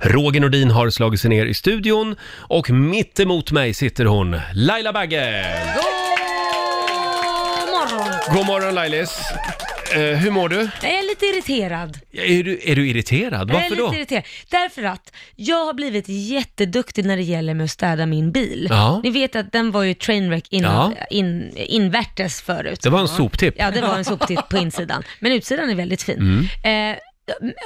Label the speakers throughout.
Speaker 1: Roger Nordin har slagit sig ner i studion och mitt emot mig sitter hon, Laila Bagge!
Speaker 2: God morgon!
Speaker 1: God morgon Lailis! Eh, hur mår du?
Speaker 2: Jag är lite irriterad.
Speaker 1: Är du, är du irriterad?
Speaker 2: jag är
Speaker 1: Varför
Speaker 2: lite
Speaker 1: då?
Speaker 2: irriterad. Därför att jag har blivit jätteduktig när det gäller med att städa min bil.
Speaker 1: Ja.
Speaker 2: Ni vet att den var ju trainwreck in,
Speaker 1: Ja.
Speaker 2: in, invärtes förut.
Speaker 1: Det var en soptipp.
Speaker 2: Ja, det var en soptipp på insidan. Men utsidan är väldigt
Speaker 1: Mm.
Speaker 2: fin. Eh,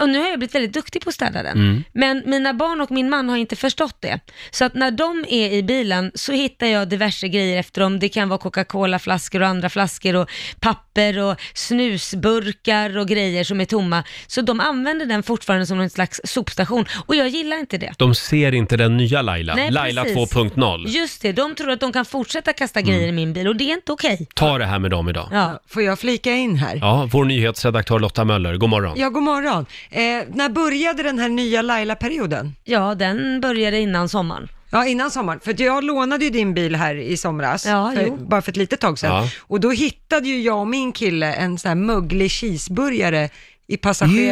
Speaker 2: och nu har jag blivit väldigt duktig på att städa den. Men mina barn och min man har inte förstått det. Så att när de är i bilen så hittar jag diverse grejer efter dem. Det kan vara Coca-Cola-flaskor och andra flaskor och papper och snusburkar och grejer som är tomma. Så de använder den fortfarande som någon slags sopstation och jag gillar inte det.
Speaker 1: De ser inte den nya Laila,
Speaker 2: Nej,
Speaker 1: Laila
Speaker 2: precis.
Speaker 1: 2.0.
Speaker 2: Just det, de tror att de kan fortsätta kasta grejer i min bil och det är inte okej.
Speaker 1: Ta det här med dem idag.
Speaker 2: Ja.
Speaker 3: Får jag flika in här? Ja.
Speaker 1: Ja, vår nyhetsredaktör Lotta Möller, god morgon.
Speaker 3: god morgon. Eh, när började den här nya Laila-perioden?
Speaker 2: ja, den började innan sommaren.
Speaker 3: Ja, innan sommaren. För att jag lånade ju din bil här i somras,
Speaker 2: Ja,
Speaker 3: för,
Speaker 2: jo.
Speaker 3: bara för ett litet tag sedan.
Speaker 1: Ja.
Speaker 3: Och då hittade ju jag och min kille en sån här möglig cheeseburgare i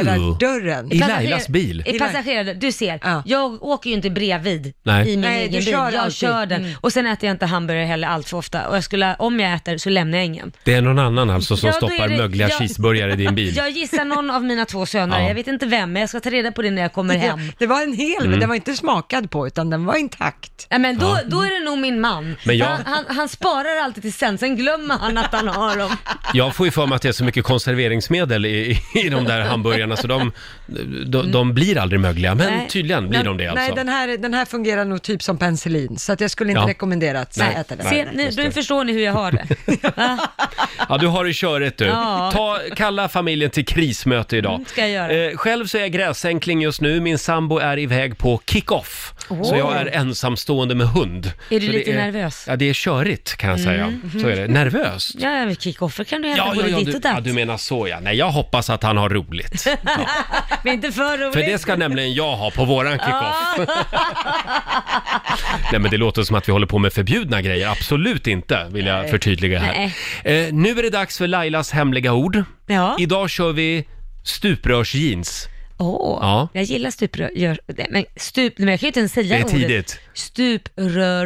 Speaker 3: passagerardörren.
Speaker 1: I
Speaker 2: Passager-
Speaker 1: Lailas bil?
Speaker 2: I passagerare, du ser.
Speaker 3: Ja.
Speaker 2: Jag åker ju inte bredvid
Speaker 1: Nej.
Speaker 2: i min
Speaker 3: Nej, du
Speaker 2: egen bil.
Speaker 3: kör
Speaker 2: jag
Speaker 3: alltid. Mm.
Speaker 2: kör den. Och sen äter jag inte hamburgare heller allt för ofta. Och jag skulle, om jag äter så lämnar jag ingen.
Speaker 1: Det är någon annan alltså som
Speaker 2: Ja, då är
Speaker 1: stoppar
Speaker 2: det-
Speaker 1: mögliga
Speaker 2: ja.
Speaker 1: cheeseburgare i din bil.
Speaker 2: Jag gissar någon av mina två söner,
Speaker 1: Ja.
Speaker 2: jag vet inte vem, men jag ska ta reda på det när jag kommer hem.
Speaker 3: Det, det var en hel,
Speaker 1: Mm.
Speaker 3: men den var inte smakad på, utan den var intakt.
Speaker 2: Ja, men då, då är det nog min man.
Speaker 1: Men jag-
Speaker 2: Han, han, han sparar alltid till sen, sen glömmer han att han har dem.
Speaker 1: Jag får ju för mig att det är så mycket konserveringsmedel i, i de där hamburgarna så de, de, de blir aldrig mögliga. Men
Speaker 2: Nej.
Speaker 1: tydligen blir de det alltså.
Speaker 3: Nej, den här, den här fungerar nog typ som penicillin, så att jag skulle inte
Speaker 1: Ja.
Speaker 3: rekommendera att
Speaker 1: Nej.
Speaker 3: äta den.
Speaker 2: Se,
Speaker 1: nej,
Speaker 2: nu,
Speaker 1: just
Speaker 2: nu
Speaker 1: det.
Speaker 2: förstår ni hur jag har det. Va?
Speaker 1: Ja, du har det köret du.
Speaker 2: Ja. Mm,
Speaker 1: Ta, kalla familjen till krismöte idag.
Speaker 2: ska jag göra.
Speaker 1: Eh, själv så är jag gräsänkling just nu. Min sambo är iväg på kick-off. Så
Speaker 2: Åh.
Speaker 1: jag är ensamstående med hund.
Speaker 2: Är du
Speaker 1: så
Speaker 2: lite nervös? Mm,
Speaker 1: Ja, det är körigt kan jag säga. Så är det. Nervöst?
Speaker 2: Ja, men kickoffer kan du hämta både
Speaker 1: ja,
Speaker 2: ditt
Speaker 1: du,
Speaker 2: och
Speaker 1: ja,
Speaker 2: datt.
Speaker 1: du menar så ja. Nej, jag hoppas att han har roligt.
Speaker 2: Men inte för roligt.
Speaker 1: För det ska nämligen jag ha på våran kick-off. Nej men det låter som att vi håller på med förbjudna grejer. Absolut inte, vill jag förtydliga här. Eh, nu är det dags för Lailas hemliga ord.
Speaker 2: Ja.
Speaker 1: Idag kör vi stuprörsjeans.
Speaker 2: Åh,
Speaker 1: Ja.
Speaker 2: jag gillar stuprör... Nej, men stup... Men jag kan ju inte ens säga
Speaker 1: Det är
Speaker 2: ordet.
Speaker 1: tidigt.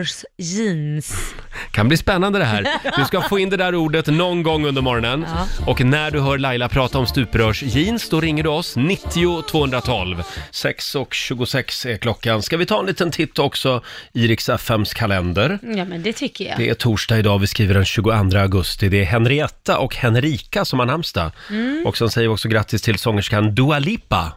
Speaker 2: Stuprörsjeans.
Speaker 1: Kan bli spännande det här. Du ska få in det där ordet någon gång under morgonen. Och när du hör Laila prata om stuprörsjeans, då ringer du oss 90 212. 6 och 26 är klockan. Ska vi ta en liten titt också i Rix FMs kalender?
Speaker 2: Ja, men det tycker jag.
Speaker 1: Det är torsdag idag, vi skriver den 22 augusti. Det är Henrietta och Henrika som har namnsdag.
Speaker 2: Mm.
Speaker 1: Och sen säger vi också grattis till sångerskan Dua Lipa.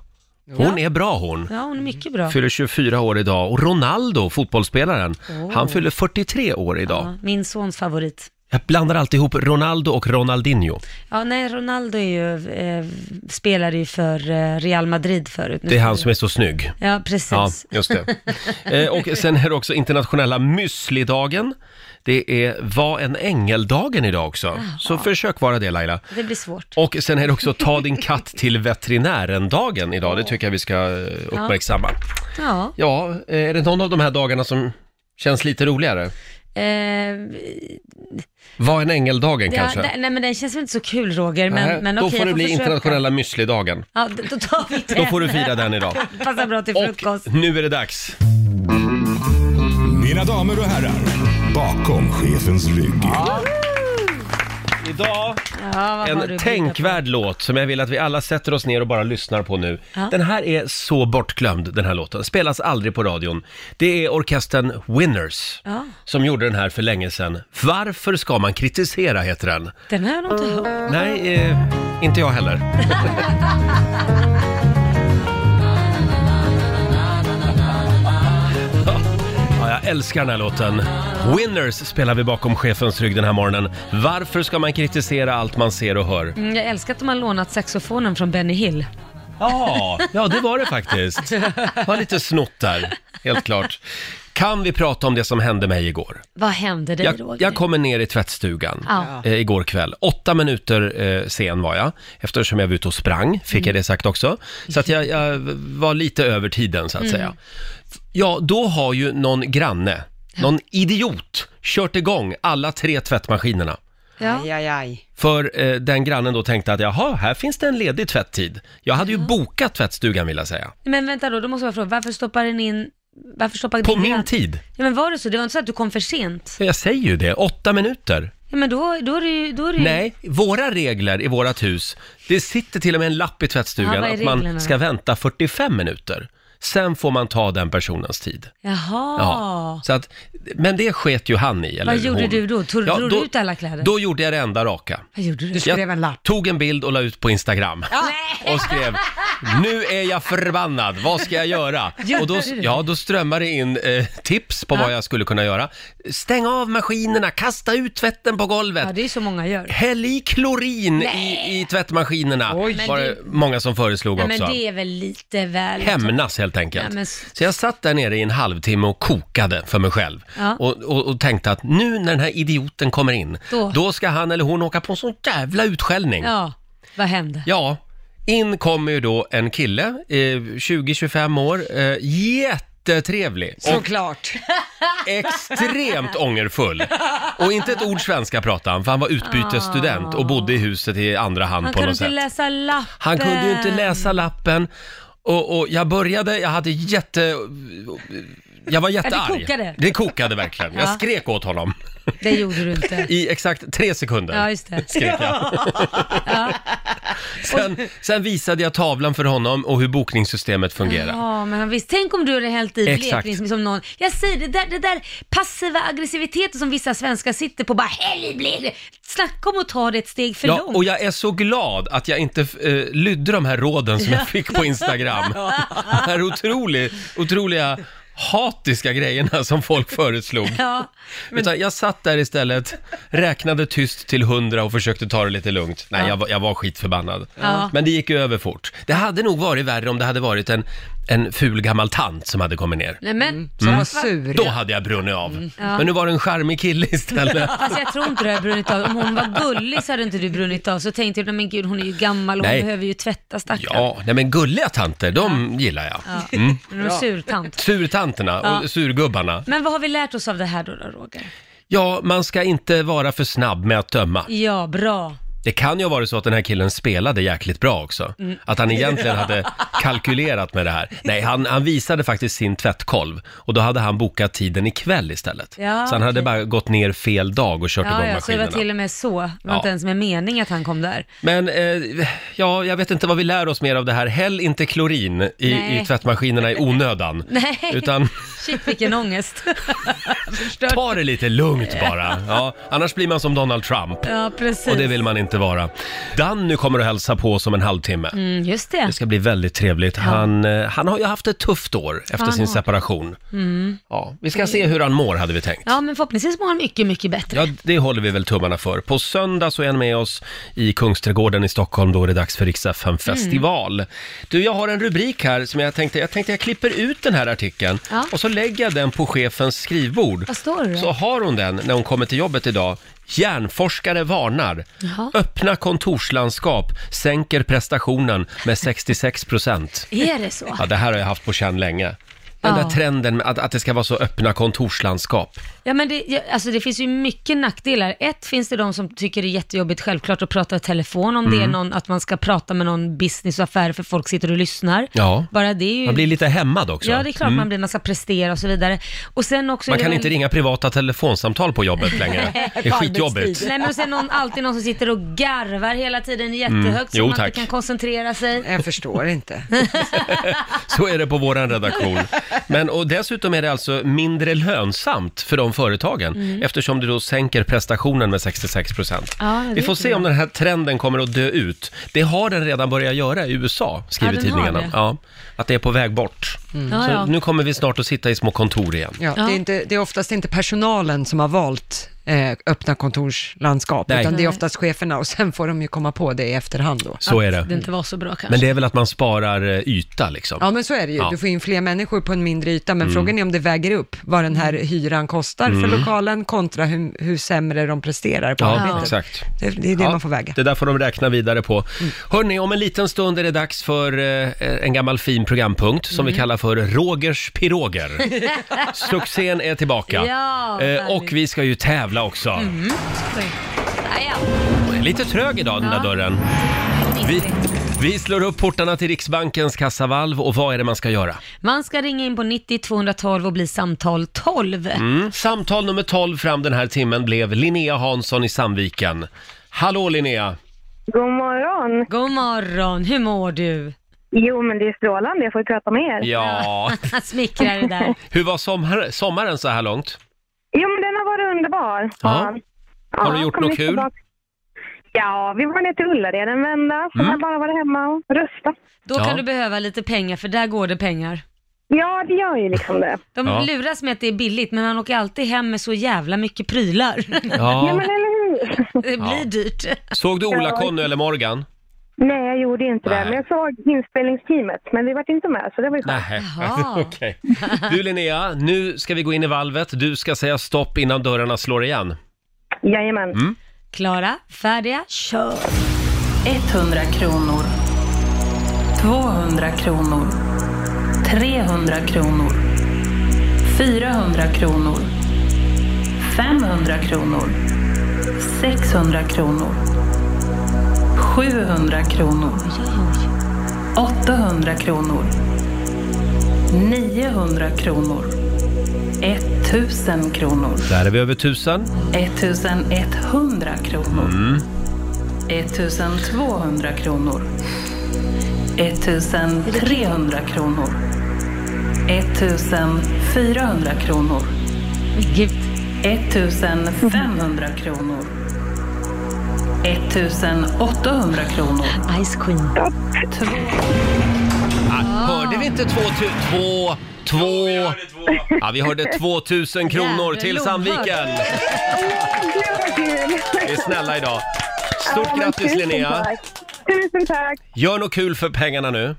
Speaker 1: Hon är bra hon.
Speaker 2: Ja, hon är mycket bra.
Speaker 1: Fyller 24 år idag. Och Ronaldo, fotbollsspelaren, han fyller 43 år idag.
Speaker 2: Ja, min sons favorit.
Speaker 1: Jag blandar alltid ihop Ronaldo och Ronaldinho.
Speaker 2: Ja, nej, Ronaldo är ju, eh, spelade ju för eh, Real Madrid förut. Nu
Speaker 1: Det är
Speaker 2: ska
Speaker 1: han
Speaker 2: vi-
Speaker 1: som är så snygg.
Speaker 2: Ja,
Speaker 1: Ja,
Speaker 2: precis.
Speaker 1: just det. Eh, och sen är det också internationella müslidagen. Det är Var en ängel-dagen idag också. Så försök vara det Laila.
Speaker 2: Det blir svårt.
Speaker 1: Och sen är det också ta din katt till veterinären-dagen idag. Det tycker jag vi ska eh, uppmärksamma.
Speaker 2: Ja,
Speaker 1: Ja, eh, är det någon av de här dagarna som känns lite roligare?
Speaker 2: eh,
Speaker 1: Var en ängel-dagen
Speaker 2: det,
Speaker 1: kanske?
Speaker 2: nej, men den känns väl inte så kul Roger, men,
Speaker 1: Nej,
Speaker 2: men
Speaker 1: då
Speaker 2: okej,
Speaker 1: får
Speaker 2: jag
Speaker 1: det bli
Speaker 2: försöka.
Speaker 1: internationella müslidagen.
Speaker 2: Ja, då, då tar vi det.
Speaker 1: Då får du fira den idag.
Speaker 2: Passar bra till frukost.
Speaker 1: Och nu är det dags.
Speaker 4: Mina damer och herrar, bakom chefens rygg.
Speaker 1: Idag
Speaker 2: Ja, vad har du
Speaker 1: en
Speaker 2: att
Speaker 1: tänkvärd låt som jag vill att vi alla sätter oss ner och bara lyssnar på nu. Den här är så bortglömd, den här låten. Spelas aldrig på radion. Det är orkestern Winners
Speaker 2: Ja.
Speaker 1: som gjorde den här för länge sedan. Varför ska man kritisera, heter den.
Speaker 2: bjuda på? Den här har jag nog inte hört.
Speaker 1: Nej, eh, inte jag heller. Ja, jag älskar den här låten. Winners spelar vi bakom chefens rygg den här morgonen. Varför ska man kritisera allt man ser och hör?
Speaker 2: Mm, Jag älskar att de har lånat saxofonen från Benny Hill.
Speaker 1: Ja, ja det var det faktiskt. Var lite snott där, helt klart. Kan vi prata om det som hände mig igår?
Speaker 2: Vad hände dig
Speaker 1: Jag,
Speaker 2: Roger?
Speaker 1: jag kommer ner i tvättstugan
Speaker 2: Ja.
Speaker 1: eh, igår kväll. Åtta minuter eh, sen var jag, eftersom jag var ute och sprang, fick
Speaker 2: Mm.
Speaker 1: jag det sagt också. Så att jag, jag var lite över tiden, så att
Speaker 2: Mm.
Speaker 1: säga. Ja, då har ju någon granne, någon idiot, kört igång alla tre tvättmaskinerna.
Speaker 2: Ja.
Speaker 3: Aj, aj, aj.
Speaker 1: För eh, den grannen då tänkte att jaha, här finns det en ledig tvätttid. Jag hade ju bokat tvättstugan vill jag säga.
Speaker 2: Men vänta då, då måste jag fråga, varför stoppar den in... Varför stoppar
Speaker 1: På
Speaker 2: den in-
Speaker 1: min tid.
Speaker 2: Ja, men var det så? Det var inte så att du kom för sent?
Speaker 1: Jag säger ju det, åtta minuter.
Speaker 2: Ja, men då, då är det ju... Då är det ju...
Speaker 1: Nej, våra regler i vårt hus, det sitter till och med en lapp i
Speaker 2: Ja,
Speaker 1: tvättstugan
Speaker 2: vad är
Speaker 1: att man
Speaker 2: reglerna
Speaker 1: ska
Speaker 2: då?
Speaker 1: vänta 45 minuter. Sen får man ta den personens tid.
Speaker 2: Jaha.
Speaker 1: Ja. Så att, men det sket ju han i. Eller
Speaker 2: Vad gjorde
Speaker 1: hon.
Speaker 2: du då? Tog- drog du ut alla kläder?
Speaker 1: Då gjorde jag det enda raka.
Speaker 2: Vad gjorde du?
Speaker 3: Du skrev en lapp.
Speaker 1: Tog en bild och la ut på Instagram. Och skrev “Nu är jag förbannad, vad ska jag göra?”
Speaker 2: Gjorde
Speaker 1: Och då,
Speaker 2: du det?
Speaker 1: ja, då strömmar det in eh, tips på vad jag skulle kunna göra. Stäng av maskinerna, kasta ut tvätten på golvet.
Speaker 2: Ja, det är så många gör.
Speaker 1: Häll i klorin i, i tvättmaskinerna,
Speaker 2: Men
Speaker 1: var
Speaker 2: det-
Speaker 1: det många som föreslog
Speaker 2: Nej, men
Speaker 1: också.
Speaker 2: det är väl lite väl...
Speaker 1: Hämnas helt enkelt.
Speaker 2: Ja, men s-
Speaker 1: Så jag satt där nere i en halvtimme och kokade för mig själv.
Speaker 2: Ja.
Speaker 1: Och, och, och tänkte att nu när den här idioten kommer in, då,
Speaker 2: Då.
Speaker 1: ska han eller hon åka på en sån jävla utskällning. Ja.
Speaker 2: Ja, vad hände?
Speaker 1: in kommer ju då en kille, eh, 20-25 år, eh, jättetrevlig. Och
Speaker 3: Såklart.
Speaker 1: extremt ångerfull. Och inte ett ord svenska pratade han, för han var utbytesstudent och bodde i huset i andra hand
Speaker 2: Han
Speaker 1: på
Speaker 2: kunde
Speaker 1: något
Speaker 2: inte
Speaker 1: sätt.
Speaker 2: läsa lappen.
Speaker 1: Han kunde ju inte läsa lappen. Och, och jag började, jag hade jätte... Jag var jättearg.
Speaker 2: kokade.
Speaker 1: Det kokade verkligen. Jag
Speaker 2: Ja.
Speaker 1: skrek åt honom.
Speaker 2: Det gjorde du inte.
Speaker 1: I exakt tre sekunder.
Speaker 2: Ja, just det.
Speaker 1: Skrek jag. sen, sen visade jag tavlan för honom och hur bokningssystemet fungerar.
Speaker 2: Ja, men han visst. Tänk om du hade hällt i
Speaker 1: Exakt.
Speaker 2: blekning som någon. Jag säger det där, det där passiva aggressiviteten som vissa svenskar sitter på bara häll i blekning. Snacka om att ta det ett steg för
Speaker 1: Ja,
Speaker 2: långt.
Speaker 1: och jag är så glad att jag inte eh, lydde de här råden som jag fick på Instagram. De här otrolig, otroliga hatiska grejerna som folk föreslog.
Speaker 2: Ja.
Speaker 1: Utan jag satt där istället, räknade tyst till hundra och försökte ta det lite lugnt. Nej, jag, var- jag var skitförbannad.
Speaker 2: Ja.
Speaker 1: Men det gick ju över fort. Det hade nog varit värre om det hade varit en, en ful gammal tant som hade kommit ner.
Speaker 2: Nej, men,
Speaker 3: Som var sur.
Speaker 1: Mm. Då hade jag brunnit av.
Speaker 2: Mm.
Speaker 1: Men nu var det en charmig kille istället.
Speaker 2: Fast Alltså, jag tror inte du har brunnit av. Om hon var gullig så hade inte du brunnit av. Så tänkte jag, nej men gud hon är ju gammal och hon
Speaker 1: Nej.
Speaker 2: behöver ju tvätta stackarn.
Speaker 1: Ja, Mm. nej men gulliga tanter, de gillar jag.
Speaker 2: Ja. Hon är en surtant.
Speaker 1: Surtanterna
Speaker 2: Ja.
Speaker 1: och surgubbarna.
Speaker 2: Men vad har vi lärt oss av det här då, då Roger?
Speaker 1: Ja, man ska inte vara för snabb med att döma.
Speaker 2: Ja, bra.
Speaker 1: Det kan ju ha varit så att den här killen spelade jäkligt bra också.
Speaker 2: Mm.
Speaker 1: Att han egentligen hade kalkylerat med det här. Nej, han, han visade faktiskt sin tvättkolv och då hade han bokat tiden ikväll istället.
Speaker 2: Ja,
Speaker 1: så han hade
Speaker 2: okej.
Speaker 1: bara gått ner fel dag och kört
Speaker 2: Ja,
Speaker 1: igång
Speaker 2: ja, så det
Speaker 1: maskinerna.
Speaker 2: var till och med så. Det var
Speaker 1: Ja.
Speaker 2: inte ens med mening att han kom där.
Speaker 1: Men eh, ja, jag vet inte vad vi lär oss mer av det här. Häll inte klorin i,
Speaker 2: Nej.
Speaker 1: i tvättmaskinerna i onödan.
Speaker 2: Nej.
Speaker 1: Utan
Speaker 2: Shit vilken ångest. Förstört.
Speaker 1: ta det lite lugnt bara. Ja, annars blir man som Donald Trump.
Speaker 2: Ja, precis.
Speaker 1: Och det vill man inte vara. Danny kommer att hälsa på oss om en halvtimme.
Speaker 2: mm, just det.
Speaker 1: Det ska bli väldigt trevligt. Han, eh, han har ju haft ett tufft år efter
Speaker 2: Han
Speaker 1: sin
Speaker 2: har.
Speaker 1: separation. Ja, vi ska se hur han mår, hade vi tänkt.
Speaker 2: Mm. Ja, men förhoppningsvis mår han mycket, mycket bättre.
Speaker 1: Ja, det håller vi väl tummarna för. På söndag så är han med oss i Kungsträdgården i Stockholm. Då är det dags för riks festival
Speaker 2: Mm.
Speaker 1: Du, jag har en rubrik här som jag tänkte, jag tänkte jag klipper ut den här artikeln
Speaker 2: Ja.
Speaker 1: och så lägger jag den på chefens skrivbord.
Speaker 2: Vad står det?
Speaker 1: Så har hon den när hon kommer till jobbet idag. Järnforskare varnar.
Speaker 2: Jaha.
Speaker 1: Öppna kontorslandskap sänker prestationen med 66 procent.
Speaker 2: Är det så?
Speaker 1: Ja, det här har jag haft på känn länge. Den
Speaker 2: Ja.
Speaker 1: där trenden med att, att det ska vara så öppna kontorslandskap.
Speaker 2: Ja, men det, ja, alltså det finns ju mycket nackdelar. Ett finns det de som tycker det är jättejobbigt självklart att prata i telefon om
Speaker 1: Mm.
Speaker 2: det är någon, att man ska prata med någon business och affärer för folk sitter och lyssnar.
Speaker 1: Ja.
Speaker 2: Bara det är ju...
Speaker 1: Man blir lite hämmad också. Mm.
Speaker 2: Ja, det är klart man blir, man ska prestera och så vidare. Och sen också...
Speaker 1: Man
Speaker 2: är det
Speaker 1: kan
Speaker 2: väl-
Speaker 1: inte ringa privata telefonsamtal på jobbet längre. Det är
Speaker 3: På
Speaker 1: skitjobbigt.
Speaker 3: arbetstid.
Speaker 2: Nej men och sen någon, alltid någon som sitter och garvar hela tiden jättehögt så
Speaker 1: Mm. Jo,
Speaker 2: man
Speaker 1: tack.
Speaker 2: inte kan koncentrera sig.
Speaker 3: Jag förstår inte.
Speaker 1: Så är det på våran redaktion. Men och dessutom är det alltså mindre lönsamt för de företagen eftersom det då sänker prestationen med 66 procent.
Speaker 2: Mm. Ja, det
Speaker 1: Vi
Speaker 2: är
Speaker 1: får
Speaker 2: inte
Speaker 1: se
Speaker 2: bra.
Speaker 1: om den här trenden kommer att dö ut. Det har den redan börjat göra i USA, skriver
Speaker 2: Ja, den har
Speaker 1: tidningarna.
Speaker 2: det. Mm.
Speaker 1: Ja, att det är på väg bort.
Speaker 2: Ja,
Speaker 1: Så
Speaker 2: ja.
Speaker 1: nu kommer vi snart att sitta i små kontor igen.
Speaker 3: Ja, Det, är inte, det är oftast inte personalen som har valt eh, öppna kontorslandskap,
Speaker 1: Nej.
Speaker 3: utan det är oftast cheferna och sen får de ju komma på det i efterhand då.
Speaker 1: Så är
Speaker 2: Att
Speaker 1: det.
Speaker 2: inte var så bra kanske.
Speaker 1: Men det är väl att man sparar eh, yta liksom.
Speaker 3: Ja, men så är det ju.
Speaker 1: Ja. Mm.
Speaker 3: Du får in fler människor på en mindre yta, men frågan är om det väger upp vad den här hyran kostar för lokalen kontra hur, hur sämre de presterar på
Speaker 1: Ja,
Speaker 3: arbetet.
Speaker 1: exakt.
Speaker 3: Det, det är det
Speaker 1: Ja,
Speaker 3: man får väga. Mm.
Speaker 1: Det där får de räkna vidare på. Hörni, om en liten stund är det dags för eh, en gammal fin programpunkt som
Speaker 3: Mm.
Speaker 1: vi kallar för Rogers piroger. Succén är tillbaka.
Speaker 2: Ja,
Speaker 3: Mm.
Speaker 1: eh, och vi ska ju tävla också.
Speaker 2: Jajamän.
Speaker 1: Lite trög idag den där
Speaker 2: Ja.
Speaker 1: dörren. Vi, vi slår upp portarna till Riksbankens kassavalv och vad är det man ska göra?
Speaker 2: Man ska ringa in på 90 212 och bli samtal 12.
Speaker 1: Mm. Samtal nummer 12 fram den här timmen blev Linnea Hansson i Sandviken. Hallå Linnea!
Speaker 5: God morgon!
Speaker 2: God morgon, hur mår du?
Speaker 5: Jo, men det är strålande. Jag får ju prata med er.
Speaker 1: Ja,
Speaker 2: Smickrar det där.
Speaker 1: hur var sommar, sommaren så här långt?
Speaker 5: Jo, men den har varit underbar.
Speaker 1: Ja.
Speaker 5: Ja,
Speaker 1: Har du gjort
Speaker 5: kom
Speaker 1: något
Speaker 5: nyss
Speaker 1: kul?
Speaker 5: tillbaka. Ja, vi var ner till Ullared en vända. Sen
Speaker 1: Mm.
Speaker 5: har jag bara varit hemma och rösta.
Speaker 2: Då
Speaker 1: Ja.
Speaker 2: kan du behöva lite pengar för där går det pengar.
Speaker 5: Ja, det gör ju liksom det.
Speaker 2: De
Speaker 1: Ja.
Speaker 2: luras med att det är billigt men man åker alltid hem med så jävla mycket prylar.
Speaker 5: Ja,
Speaker 1: Ja.
Speaker 5: men eller hur?
Speaker 2: Det blir dyrt.
Speaker 1: Såg du Ola-Conny eller Morgan?
Speaker 5: Nej, jag gjorde inte
Speaker 1: Nej.
Speaker 5: det. Men jag såg inspelningsteamet, men vi var inte med, så det var ju skönt.
Speaker 1: Nej.
Speaker 2: Jaha.
Speaker 1: Okej. Du Linnea, nu ska vi gå in i valvet. Du ska säga stopp innan dörrarna slår igen.
Speaker 5: Jajamän.
Speaker 2: Klara, färdiga, kör!
Speaker 6: 100 kronor. 200 kronor. 300 kronor. 400 kronor. 500 kronor. 600 kronor. 700 kronor. 800 kronor. 900 kronor. 1000 kronor.
Speaker 1: Där är vi över tusen. Mm.
Speaker 6: 1100 kronor. 1200 kronor. 1300 kronor. 1400 kronor.
Speaker 2: Gud.
Speaker 6: 1500 kronor. 1800 kronor.
Speaker 2: Ice Queen.
Speaker 1: Ah, hörde vi inte två, tu- två, två? Ja, vi hörde 2000 kronor
Speaker 2: Jävla
Speaker 1: till
Speaker 2: lovhört.
Speaker 1: Sandviken.
Speaker 5: Gud, vad kul!
Speaker 1: Vi är snälla idag. Stort
Speaker 5: Ja, men
Speaker 1: grattis
Speaker 5: tusen
Speaker 1: Linnea.
Speaker 5: tack. Tusen tack!
Speaker 1: Gör något kul för pengarna nu.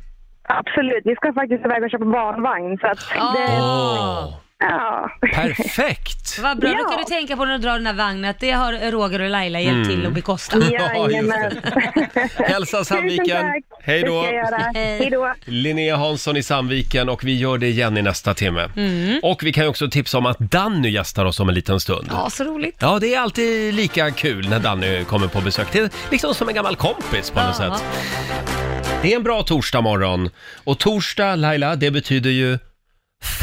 Speaker 5: Absolut, vi ska faktiskt iväg och köpa barnvagn, så att det...
Speaker 1: Åh,
Speaker 5: Ja.
Speaker 1: perfekt!
Speaker 2: Vad bra, då
Speaker 5: Ja.
Speaker 2: kan du tänka på när du drar den här vagnen att det har Roger och Laila hjälpt till att bekosta.
Speaker 1: Mm. Ja, just det.
Speaker 5: Jajamän.
Speaker 1: Hälsa Sandviken.
Speaker 5: Tusen tack.
Speaker 1: Hej då.
Speaker 5: Det ska jag göra.
Speaker 2: Hej.
Speaker 5: Hej då.
Speaker 1: Linnea Hansson i Sandviken och vi gör det igen i nästa timme.
Speaker 2: Mm.
Speaker 1: Och vi kan ju också tipsa om att Danny gästar oss om en liten stund.
Speaker 2: Ja, så roligt.
Speaker 1: Ja, det är alltid lika kul när Danny kommer på besök. Det är liksom som en gammal kompis på något
Speaker 2: Ja.
Speaker 1: sätt. Det är en bra torsdag morgon. Och torsdag, Laila, det betyder ju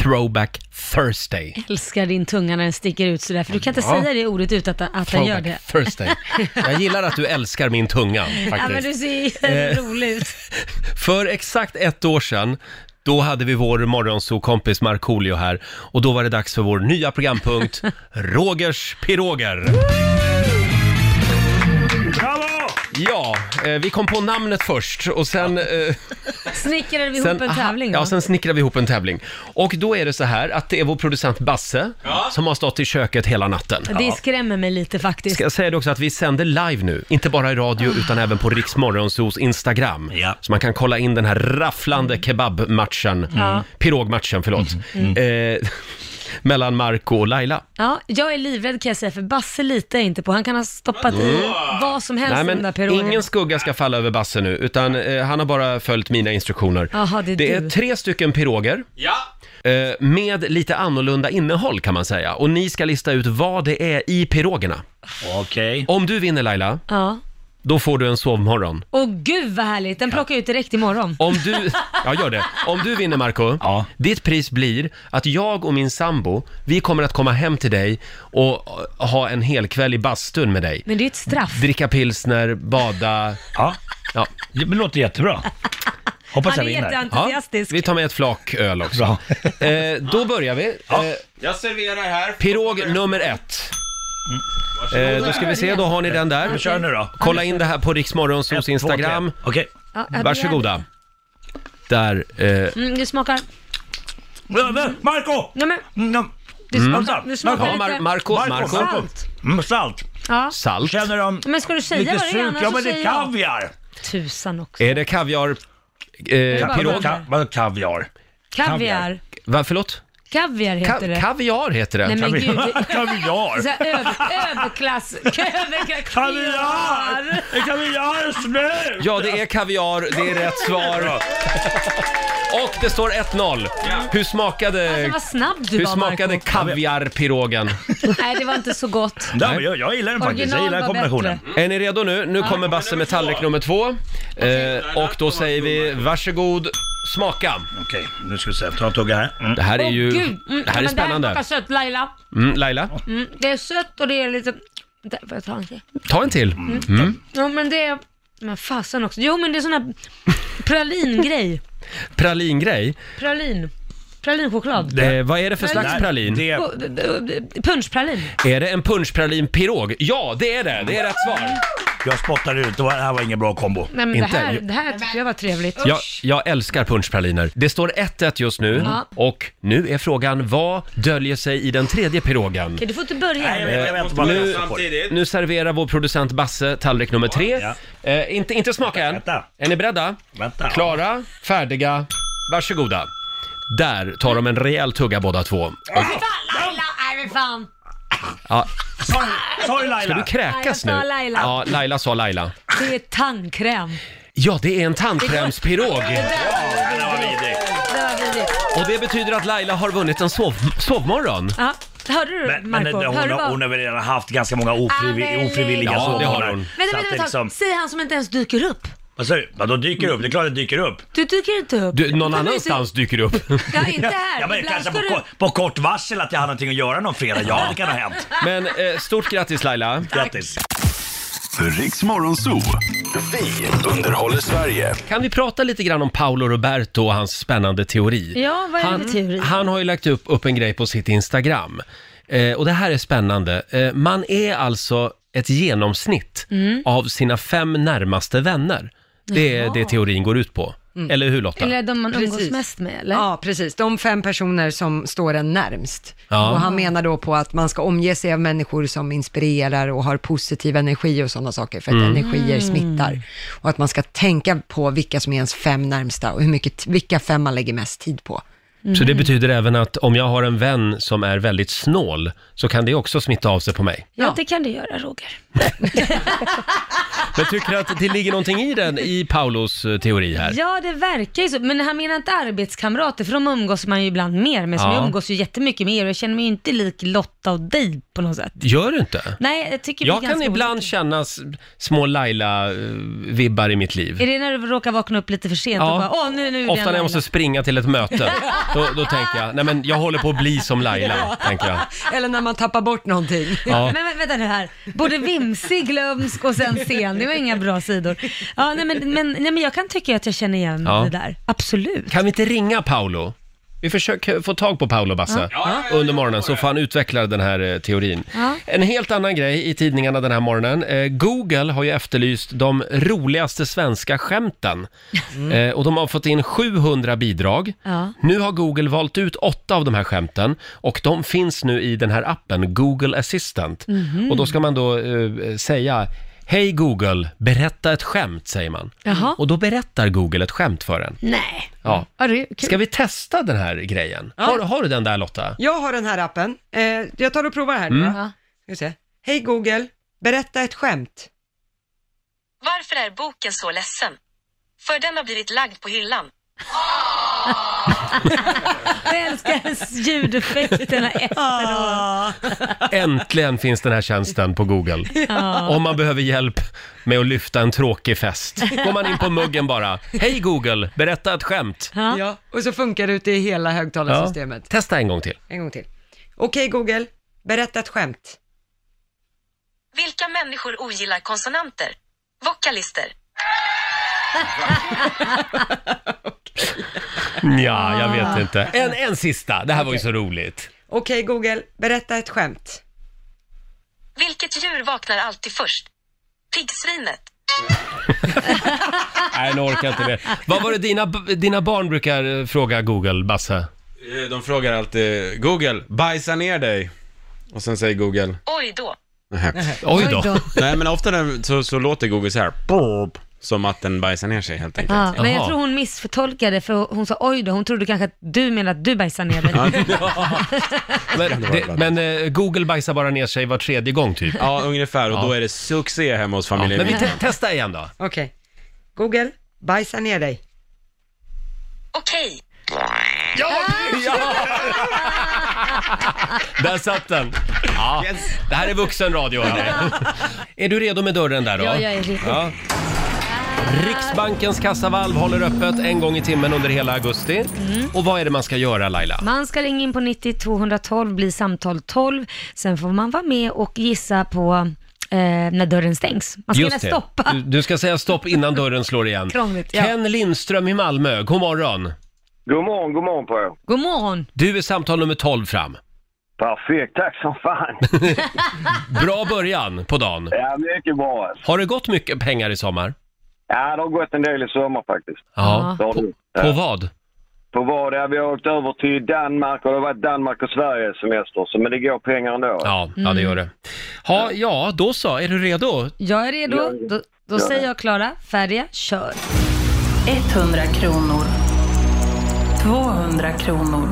Speaker 1: Throwback Thursday.
Speaker 2: Älskar din tunga när den sticker ut sådär, för du kan inte
Speaker 1: Ja.
Speaker 2: säga det ordet utan att, att den gör
Speaker 1: Throwback
Speaker 2: det.
Speaker 1: Thursday. Jag gillar att du älskar min tunga
Speaker 2: Ja, men du
Speaker 1: faktiskt. Eh.
Speaker 2: ser ju rolig ut.
Speaker 1: För exakt ett år sedan då hade vi vår morgonsokompis Markoolio här och då var det dags för vår nya programpunkt Rogers piroger.
Speaker 7: Bravo!
Speaker 1: Ja, eh, vi kom på namnet först och sen... eh,
Speaker 2: Snickrade vi ihop
Speaker 1: Sen,
Speaker 2: en
Speaker 1: aha,
Speaker 2: tävling
Speaker 1: Ja,
Speaker 2: då?
Speaker 1: sen snickrar vi ihop en tävling. Och då är det så här att det är vår producent Basse som har stått i köket hela natten.
Speaker 2: Det skrämmer mig lite faktiskt.
Speaker 1: Ska jag säga det också att vi sänder live nu, inte bara i radio
Speaker 2: Ah.
Speaker 1: utan även på Riksmorgonsos Instagram.
Speaker 7: Ja.
Speaker 1: Så man kan kolla in den här rafflande
Speaker 2: Mm.
Speaker 1: kebabmatchen, pirogmatchen förlåt,
Speaker 2: Mm.
Speaker 1: Eh, mellan Marco och Laila.
Speaker 2: Ja, jag är livrädd kan jag säga, för Basse litar jag inte på. Han kan ha stoppat i vad som helst
Speaker 1: Mm. Nej
Speaker 2: i den där
Speaker 1: men
Speaker 2: pirogen.
Speaker 1: ingen skugga ska falla över Basse nu, utan eh, han har bara följt mina instruktioner.
Speaker 2: Jaha, det är
Speaker 1: det
Speaker 2: du.
Speaker 1: är tre stycken piroger. eh, Med lite annorlunda innehåll kan man säga. Och ni ska lista ut vad det är i pirogerna.
Speaker 7: Okej.
Speaker 1: Om du vinner Laila,
Speaker 2: Ja.
Speaker 1: då får du en sovmorgon.
Speaker 2: Och gud vad härligt, den plockar jag ut direkt imorgon.
Speaker 1: Om du, ja gör det. Om du vinner Marco,
Speaker 7: Ja.
Speaker 1: ditt pris blir att jag och min sambo, vi kommer att komma hem till dig och eh, ha en hel kväll i bastun med dig.
Speaker 2: Men det är ju ett straff.
Speaker 1: Dricka pilsner, bada.
Speaker 7: Ja,
Speaker 1: Ja.
Speaker 7: det låter jättebra. Hoppas
Speaker 2: Han
Speaker 7: jag
Speaker 2: är
Speaker 7: vinner.
Speaker 1: Ja,
Speaker 2: jätteentusiastisk.
Speaker 1: vi tar med ett flak öl också.
Speaker 7: Bra.
Speaker 1: Eh, då börjar vi. Eh,
Speaker 8: Jag serverar här.
Speaker 1: pirog nummer ett. Eh, då ska vi se, då har ni den där.
Speaker 7: Kör nu då.
Speaker 1: Kolla in det här på Riksmorgonsos
Speaker 7: Ett, två, tre.
Speaker 1: Instagram.
Speaker 7: Okej.
Speaker 2: Ja, ja, det är-
Speaker 1: Varsågoda. Där. Eh,
Speaker 2: Mm, du smakar...
Speaker 7: Mm. Marco!
Speaker 2: Nej men,
Speaker 7: Mm.
Speaker 2: du smakar,
Speaker 7: Mm.
Speaker 2: du smakar
Speaker 1: ja, Mar-
Speaker 2: lite...
Speaker 1: Marco,
Speaker 7: Marco,
Speaker 1: Marco.
Speaker 7: Marco.
Speaker 2: Salt.
Speaker 7: Mm, salt.
Speaker 2: Ja.
Speaker 1: Salt.
Speaker 7: Känner de
Speaker 2: Men ska du säga
Speaker 7: lite
Speaker 2: vad det är
Speaker 7: surt?
Speaker 2: annars
Speaker 7: Ja,
Speaker 2: så
Speaker 7: men det
Speaker 2: säger
Speaker 7: är
Speaker 2: jag.
Speaker 7: kaviar.
Speaker 2: Alltså, Tusan också.
Speaker 1: Är det kaviar... Eh,
Speaker 2: bara-
Speaker 1: pirog?
Speaker 7: Ka- Vadå kaviar?
Speaker 2: Kaviar.
Speaker 1: Va, förlåt?
Speaker 2: Kaviar
Speaker 1: Ka-
Speaker 2: heter det.
Speaker 1: kaviar heter det.
Speaker 2: Nej men gud.
Speaker 7: kaviar!
Speaker 2: Så eh, här över, överklass... Överklass...
Speaker 7: Kaviar! Det är kaviar snö!
Speaker 1: Ja, det är kaviar. Det är rätt svar. Och det står 1-0. Hur smakade...
Speaker 2: Alltså vad snabb du
Speaker 1: hur
Speaker 2: var
Speaker 1: smakade
Speaker 2: Marco.
Speaker 1: kaviarpirogen?
Speaker 2: Nej, det var inte så gott.
Speaker 7: Nej, men jag, jag gillar den faktiskt. Jag
Speaker 2: Original
Speaker 7: gillar
Speaker 2: var
Speaker 7: kombinationen.
Speaker 2: bättre.
Speaker 1: Är ni redo nu? Nu kommer Basse med tallrik nummer två. Eh, och då säger vi varsågod, smaka.
Speaker 7: Okej, nu ska vi se. Ta en tugga här. Mm.
Speaker 1: Det här är
Speaker 2: Åh,
Speaker 1: ju...
Speaker 2: Gud. Mm,
Speaker 1: Det här är
Speaker 2: men Det här
Speaker 1: spännande.
Speaker 2: smakar sött Laila.
Speaker 1: Mm, Laila,
Speaker 2: Mm, det är sött och det är lite... Där, Får jag ta en till?
Speaker 1: ta en till.
Speaker 7: Mm.
Speaker 1: Mm.
Speaker 2: Ja men det är... Men fasen också. Jo men det är sån här pralingrej.
Speaker 1: Pralingrej.
Speaker 2: Pralin. Pralinchoklad.
Speaker 1: Eh, vad är det för slags
Speaker 7: Nej,
Speaker 1: pralin?
Speaker 7: Det,
Speaker 2: Och- och- och- Punschpralin.
Speaker 1: Är det en punschpralin-pirog? Ja, det är det! Det är rätt svar.
Speaker 7: jag spottar ut. Det var- det här var ingen bra kombo.
Speaker 2: Nej men det
Speaker 1: Inte.
Speaker 2: här, det här tyckte jag var trevligt.
Speaker 1: Jag, jag älskar punschpraliner. Det står 1-1 just nu
Speaker 2: Ja.
Speaker 1: och nu är frågan vad döljer sig i den tredje pirogen? Eh,
Speaker 2: Okej, du får inte börja.
Speaker 7: Nej, jag vet, jag vet, bara
Speaker 1: Nu,
Speaker 7: läsa på det.
Speaker 1: nu serverar vår producent Basse tallrik nummer tre. Eh, inte, inte smaka än.
Speaker 7: Vänta.
Speaker 1: Är ni beredda?
Speaker 7: Vänta.
Speaker 1: Klara, färdiga, varsågoda. Där tar de en rejäl tugga båda två.
Speaker 2: Fan, Laila, nej men fan.
Speaker 1: Ja,
Speaker 7: Sorry, sorry
Speaker 1: ska du
Speaker 7: Laila.
Speaker 1: kräkas nu?
Speaker 2: Laila sa Laila.
Speaker 1: Ja, Laila sa Laila.
Speaker 2: Det är tandkräm.
Speaker 1: Ja, det är en tandkrämspirog.
Speaker 7: Den var vidrig.
Speaker 2: Det var vidrigt.
Speaker 1: Och det betyder att Laila har vunnit en sov sovmorgon.
Speaker 2: Ja, hörde du
Speaker 7: Men, men det,
Speaker 2: Marco?
Speaker 7: hon,
Speaker 2: hörde du
Speaker 7: har,
Speaker 2: vad-
Speaker 7: hon har väl redan haft ganska många ofrivi,
Speaker 2: Anneli.
Speaker 7: ofrivilliga
Speaker 1: Ja, det har
Speaker 7: sovmorgnar.
Speaker 1: hon.
Speaker 2: Vänta,
Speaker 7: Så att
Speaker 2: vänta,
Speaker 7: det
Speaker 2: vänta.
Speaker 7: liksom-
Speaker 2: Säg han som inte ens dyker upp.
Speaker 7: Vad säger du? Vadå dyker upp? Det är klart det dyker upp.
Speaker 2: Du dyker inte upp.
Speaker 1: Du, någon
Speaker 2: Kommer
Speaker 1: annanstans dyker det upp.
Speaker 2: se- Ja, inte här.
Speaker 7: Ja, men
Speaker 2: Ibland
Speaker 7: kanske
Speaker 2: ska
Speaker 7: på,
Speaker 2: du...
Speaker 7: ko- på kort varsel att jag hade någonting att göra någon fredag. Ja, det kan ha hänt.
Speaker 1: Men eh, stort grattis Laila.
Speaker 7: Grattis.
Speaker 4: Riks Morgonzoo. Vi underhåller Sverige.
Speaker 1: Kan vi prata lite grann om Paolo Roberto och hans spännande teori?
Speaker 2: Ja, vad är det
Speaker 1: han,
Speaker 2: för teori?
Speaker 1: Han har ju lagt upp, upp en grej på sitt Instagram. Eh, och det här är spännande. Eh, man är alltså ett genomsnitt av sina fem närmaste vänner. Det är det teorin går ut på.
Speaker 2: Mm.
Speaker 1: Eller hur Lotta?
Speaker 2: Eller de man umgås
Speaker 3: Precis.
Speaker 2: mest med, eller?
Speaker 3: Ja, precis. De fem personer som står en närmst.
Speaker 1: Ja.
Speaker 3: Och han menar då på att man ska omge sig av människor som inspirerar och har positiv energi och sådana saker, för att
Speaker 1: Mm.
Speaker 3: energier
Speaker 2: Mm.
Speaker 3: smittar. Och att man ska tänka på vilka som är ens fem närmsta och hur mycket, vilka fem man lägger mest tid på.
Speaker 1: Så
Speaker 2: Mm.
Speaker 1: det betyder även att om jag har en vän som är väldigt snål så kan det också smitta av sig på mig.
Speaker 2: Ja, det kan du göra, Roger.
Speaker 1: Men tycker du att det ligger någonting i den, i Paulos eh, teori här?
Speaker 2: Ja, det verkar ju så. Men han menar inte arbetskamrater, för de umgås man ju ibland mer med. Som
Speaker 1: Ja.
Speaker 2: jag umgås ju jättemycket med er och jag känner mig ju inte lik Lotta och dig på något sätt.
Speaker 1: Gör du inte?
Speaker 2: Nej, jag tycker vi är
Speaker 1: Jag kan
Speaker 2: ganska
Speaker 1: ibland
Speaker 2: olika.
Speaker 1: känna s- små Laila-vibbar i mitt liv.
Speaker 2: Är det när du råkar vakna upp lite för sent
Speaker 1: Ja.
Speaker 2: och bara, åh nu, nu är det
Speaker 1: Ofta när jag
Speaker 2: Laila."
Speaker 1: måste springa till ett möte, då, då tänker jag, nej men jag håller på att bli som Laila, tänker jag.
Speaker 3: Eller när man tappar bort någonting.
Speaker 1: Ja.
Speaker 2: Men vä- vänta nu här, både vimsig, glömsk och sen sen, det var inga bra sidor. Ja, nej, men, men, nej, men jag kan tycka att jag känner igen
Speaker 1: Ja.
Speaker 2: det där, absolut.
Speaker 1: Kan vi inte ringa Paolo? Vi försöker få tag på Paolo Basse under morgonen så får han utveckla den här eh, teorin.
Speaker 2: Ja.
Speaker 1: En helt annan grej i tidningarna den här morgonen. Eh, Google har ju efterlyst de roligaste svenska skämten
Speaker 2: Mm.
Speaker 1: eh, och de har fått in 700 bidrag.
Speaker 2: Ja.
Speaker 1: Nu har Google valt ut åtta av de här skämten och de finns nu i den här appen Google Assistant.
Speaker 2: Mhm.
Speaker 1: Och då ska man då eh, säga Hej Google, berätta ett skämt, säger man.
Speaker 2: Jaha.
Speaker 1: Och då berättar Google ett skämt för en.
Speaker 2: Mm. Nej.
Speaker 1: Ja.
Speaker 2: Ja, det är kul.
Speaker 1: Ska vi testa den här grejen? Har, har du den där Lotta?
Speaker 3: Jag har den här appen. Eh, jag tar och provar här
Speaker 1: Mm.
Speaker 3: nu då. Ska vi se. Hej Google, berätta ett skämt.
Speaker 8: Varför är boken så ledsen? För den har blivit lagd på hyllan.
Speaker 2: Jag älskar ljudeffekterna efteråt.
Speaker 1: Äntligen finns den här tjänsten på Google. Om man behöver hjälp med att lyfta en tråkig fest. Går man in på muggen bara. Hej Google, berätta ett skämt.
Speaker 2: Ja.
Speaker 3: Ja, och så funkar det ute i hela högtalarsystemet.
Speaker 1: Testa en gång till.
Speaker 3: En gång till. Okej Google, berätta ett skämt.
Speaker 8: Vilka människor ogillar konsonanter? Vokalister.
Speaker 1: Ja, jag
Speaker 2: Ah.
Speaker 1: vet inte. En, en sista. Det här var ju så roligt.
Speaker 3: Okej Google, berätta ett skämt.
Speaker 8: Vilket djur vaknar alltid först? Piggsvinet.
Speaker 1: Nej, nu orkar jag inte mer. Vad var det dina, dina barn brukar eh, fråga Google, Basse?
Speaker 9: Eh, De frågar alltid Google, bajsa ner dig. Och sen säger Google,
Speaker 8: Oj då.
Speaker 9: nähä.
Speaker 1: Oj då.
Speaker 9: Nej men ofta när- så, så låter Google så här, "Burp", som att den bajsar ner sig helt enkelt.
Speaker 2: Ja, men
Speaker 1: Jaha.
Speaker 2: jag tror hon missförtolkade för hon sa oj då, hon trodde kanske att du menade att du bajsar ner dig.
Speaker 1: Men, det, men eh, Google bajsar bara ner sig var tredje gång typ.
Speaker 9: Ja, ungefär. Och då är det succé hemma hos
Speaker 1: Ja,
Speaker 9: familjen
Speaker 1: men vi
Speaker 9: Wiklund.
Speaker 1: te- testar igen då.
Speaker 3: Okej. Google, bajsa ner dig.
Speaker 8: Okej.
Speaker 1: Där satt den! Ja. Det här är vuxenradio. hörni. Är du redo med dörren där då?
Speaker 2: Ja, jag är redo.
Speaker 1: Ja. Riksbankens kassavalv håller öppet en gång i timmen under hela augusti.
Speaker 2: Mm.
Speaker 1: Och vad är det man ska göra Laila?
Speaker 2: Man ska ringa in på 90 212, bli samtal 12. Sen får man vara med och gissa på eh, när dörren stängs. Man ska hinna
Speaker 1: det.
Speaker 2: stoppa.
Speaker 1: Du, du ska säga stopp innan dörren slår igen.
Speaker 2: Krångligt, ja.
Speaker 1: Ken Lindström i Malmö, god morgon.
Speaker 10: God morgon, god morgon på er.
Speaker 2: God morgon!
Speaker 1: Du är samtal nummer 12 fram.
Speaker 10: Perfekt, tack som fan.
Speaker 1: Bra början på dagen.
Speaker 10: Ja, mycket bra. alltså.
Speaker 1: Har det gått mycket pengar i sommar?
Speaker 10: Ja, det har gått en del i sommar faktiskt.
Speaker 1: Ja.
Speaker 10: Det har
Speaker 1: På,
Speaker 10: det.
Speaker 1: på
Speaker 10: Ja.
Speaker 1: vad?
Speaker 10: På vad? Ja, vi har åkt över till Danmark och det har varit Danmark och Sverige semester, så men det går pengar ändå.
Speaker 1: Ja, ja det gör det. Ha, ja, då så. Är du redo?
Speaker 2: Jag är redo.
Speaker 10: Ja, ja.
Speaker 2: Då, då
Speaker 10: Ja,
Speaker 2: säger
Speaker 10: ja.
Speaker 2: jag klara, färdiga, kör.
Speaker 6: 100 kronor. 200 kronor.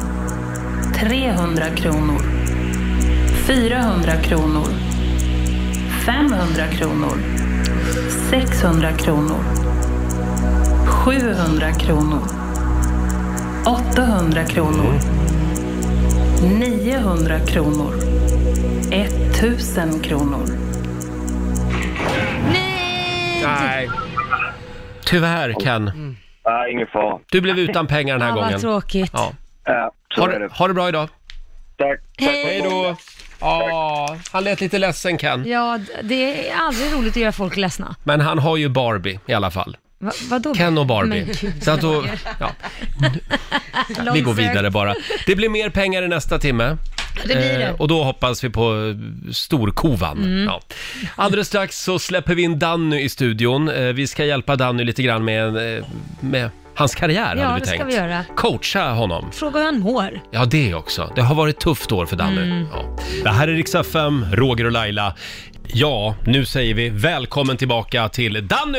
Speaker 6: 300 kronor. 400 kronor. 500 kronor. 600 kronor. 700 kronor. 800 kronor. 900 kronor. 1000 kronor.
Speaker 2: Nej!
Speaker 1: Nej. Tyvärr Ken.
Speaker 10: Ja, Mm. ingen fara.
Speaker 1: Du blev utan pengar den här
Speaker 2: Ja, vad
Speaker 1: gången.
Speaker 2: tråkigt.
Speaker 1: Ja.
Speaker 10: Ja, så
Speaker 1: Ha,
Speaker 10: är det.
Speaker 1: det- ha det bra idag.
Speaker 10: Tack.
Speaker 2: Hej.
Speaker 10: Tack för
Speaker 1: då. Ja, han lät lite ledsen Ken.
Speaker 2: Ja, d- det är aldrig roligt att göra folk ledsna.
Speaker 1: Men han har ju Barbie i alla fall.
Speaker 2: Va, vadå?
Speaker 1: Ken och
Speaker 2: Men
Speaker 1: Barbie.
Speaker 2: gud,
Speaker 1: Så att då, ja, vi går
Speaker 2: långsökt.
Speaker 1: vidare bara. Det blir mer pengar i nästa timme.
Speaker 2: Det blir det. Mm.
Speaker 1: Eh, och då hoppas vi på eh, storkovan. Ja. Alldeles strax så släpper vi in Danny i studion. Eh, Vi ska hjälpa Danny lite grann med, eh, med hans karriär,
Speaker 2: Ja,
Speaker 1: hade vi
Speaker 2: det ska
Speaker 1: tänkt.
Speaker 2: vi göra.
Speaker 1: Coacha honom.
Speaker 2: Fråga hur han mår.
Speaker 1: Ja, det också. Det har varit tufft år för Danny.
Speaker 11: Mm.
Speaker 1: Ja. Det här är Rix FM, Roger och Laila. Ja, nu säger vi välkommen tillbaka till Danny!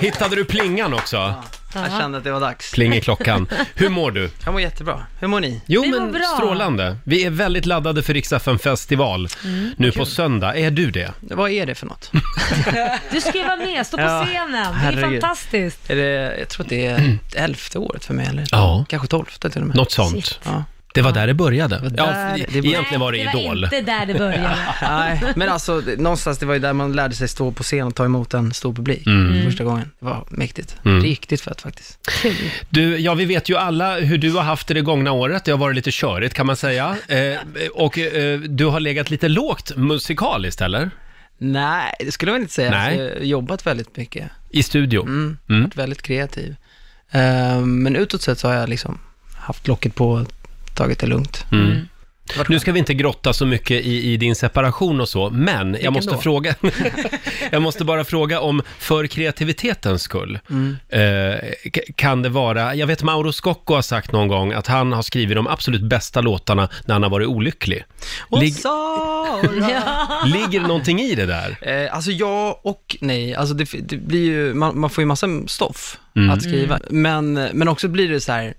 Speaker 1: Hittade du plingan också?
Speaker 2: Ja.
Speaker 11: Jag kände att det var dags.
Speaker 1: Pling i klockan. Hur mår du?
Speaker 11: Jag mår jättebra. Hur mår ni?
Speaker 1: Jo,
Speaker 2: Vi mår
Speaker 1: men
Speaker 2: bra.
Speaker 1: strålande. Vi är väldigt laddade för Rix FM festival
Speaker 2: Mm.
Speaker 1: nu på söndag. Är du det?
Speaker 11: Vad är det för något?
Speaker 2: Du ska ju vara med, stå på
Speaker 11: Ja,
Speaker 2: scenen. Det är
Speaker 11: herregud.
Speaker 2: fantastiskt.
Speaker 11: Är det, jag tror att det är elfte året för mig, eller?
Speaker 1: Ja.
Speaker 11: Kanske tolfte till och med.
Speaker 1: Något sånt.
Speaker 2: Shit.
Speaker 11: Ja.
Speaker 1: Det var där det började.
Speaker 11: Det
Speaker 1: ja,
Speaker 11: var där det började.
Speaker 1: egentligen var det
Speaker 2: Nej, det var
Speaker 1: Idol.
Speaker 2: inte där det började.
Speaker 11: Nej, men alltså det- någonstans, det var ju där man lärde sig stå på scen och ta emot en stor publik
Speaker 1: Mm.
Speaker 11: första gången. Det var mäktigt. Riktigt fett faktiskt.
Speaker 1: Du, ja, vi vet ju alla hur du har haft det det gångna året. Det har varit lite körigt kan man säga. Eh, och eh, du har legat lite lågt musikaliskt, eller?
Speaker 11: Nej, det skulle man inte säga.
Speaker 1: Nej.
Speaker 11: Jag har jobbat väldigt mycket.
Speaker 1: I studio.
Speaker 11: Mm.
Speaker 1: Mm.
Speaker 11: Varit väldigt kreativ. Eh, men utåt sett så har jag liksom haft locket på, tagit det lugnt.
Speaker 1: Mm. Nu ska vi inte grotta så mycket i, i din separation och så, men jag
Speaker 11: Vilken
Speaker 1: måste,
Speaker 11: då?
Speaker 1: fråga, jag måste bara fråga om, för kreativitetens skull,
Speaker 7: Mm.
Speaker 1: eh, k- kan det vara, jag vet Mauro Scocco har sagt någon gång att han har skrivit de absolut bästa låtarna när han har varit olycklig.
Speaker 11: Och
Speaker 1: Ligg-
Speaker 11: Sara!
Speaker 1: Ligger det någonting i det där?
Speaker 11: Eh, alltså ja och nej. Alltså det, det blir ju, man, man får ju massa stoff att skriva.
Speaker 2: Mm.
Speaker 11: Men, men också blir det så här,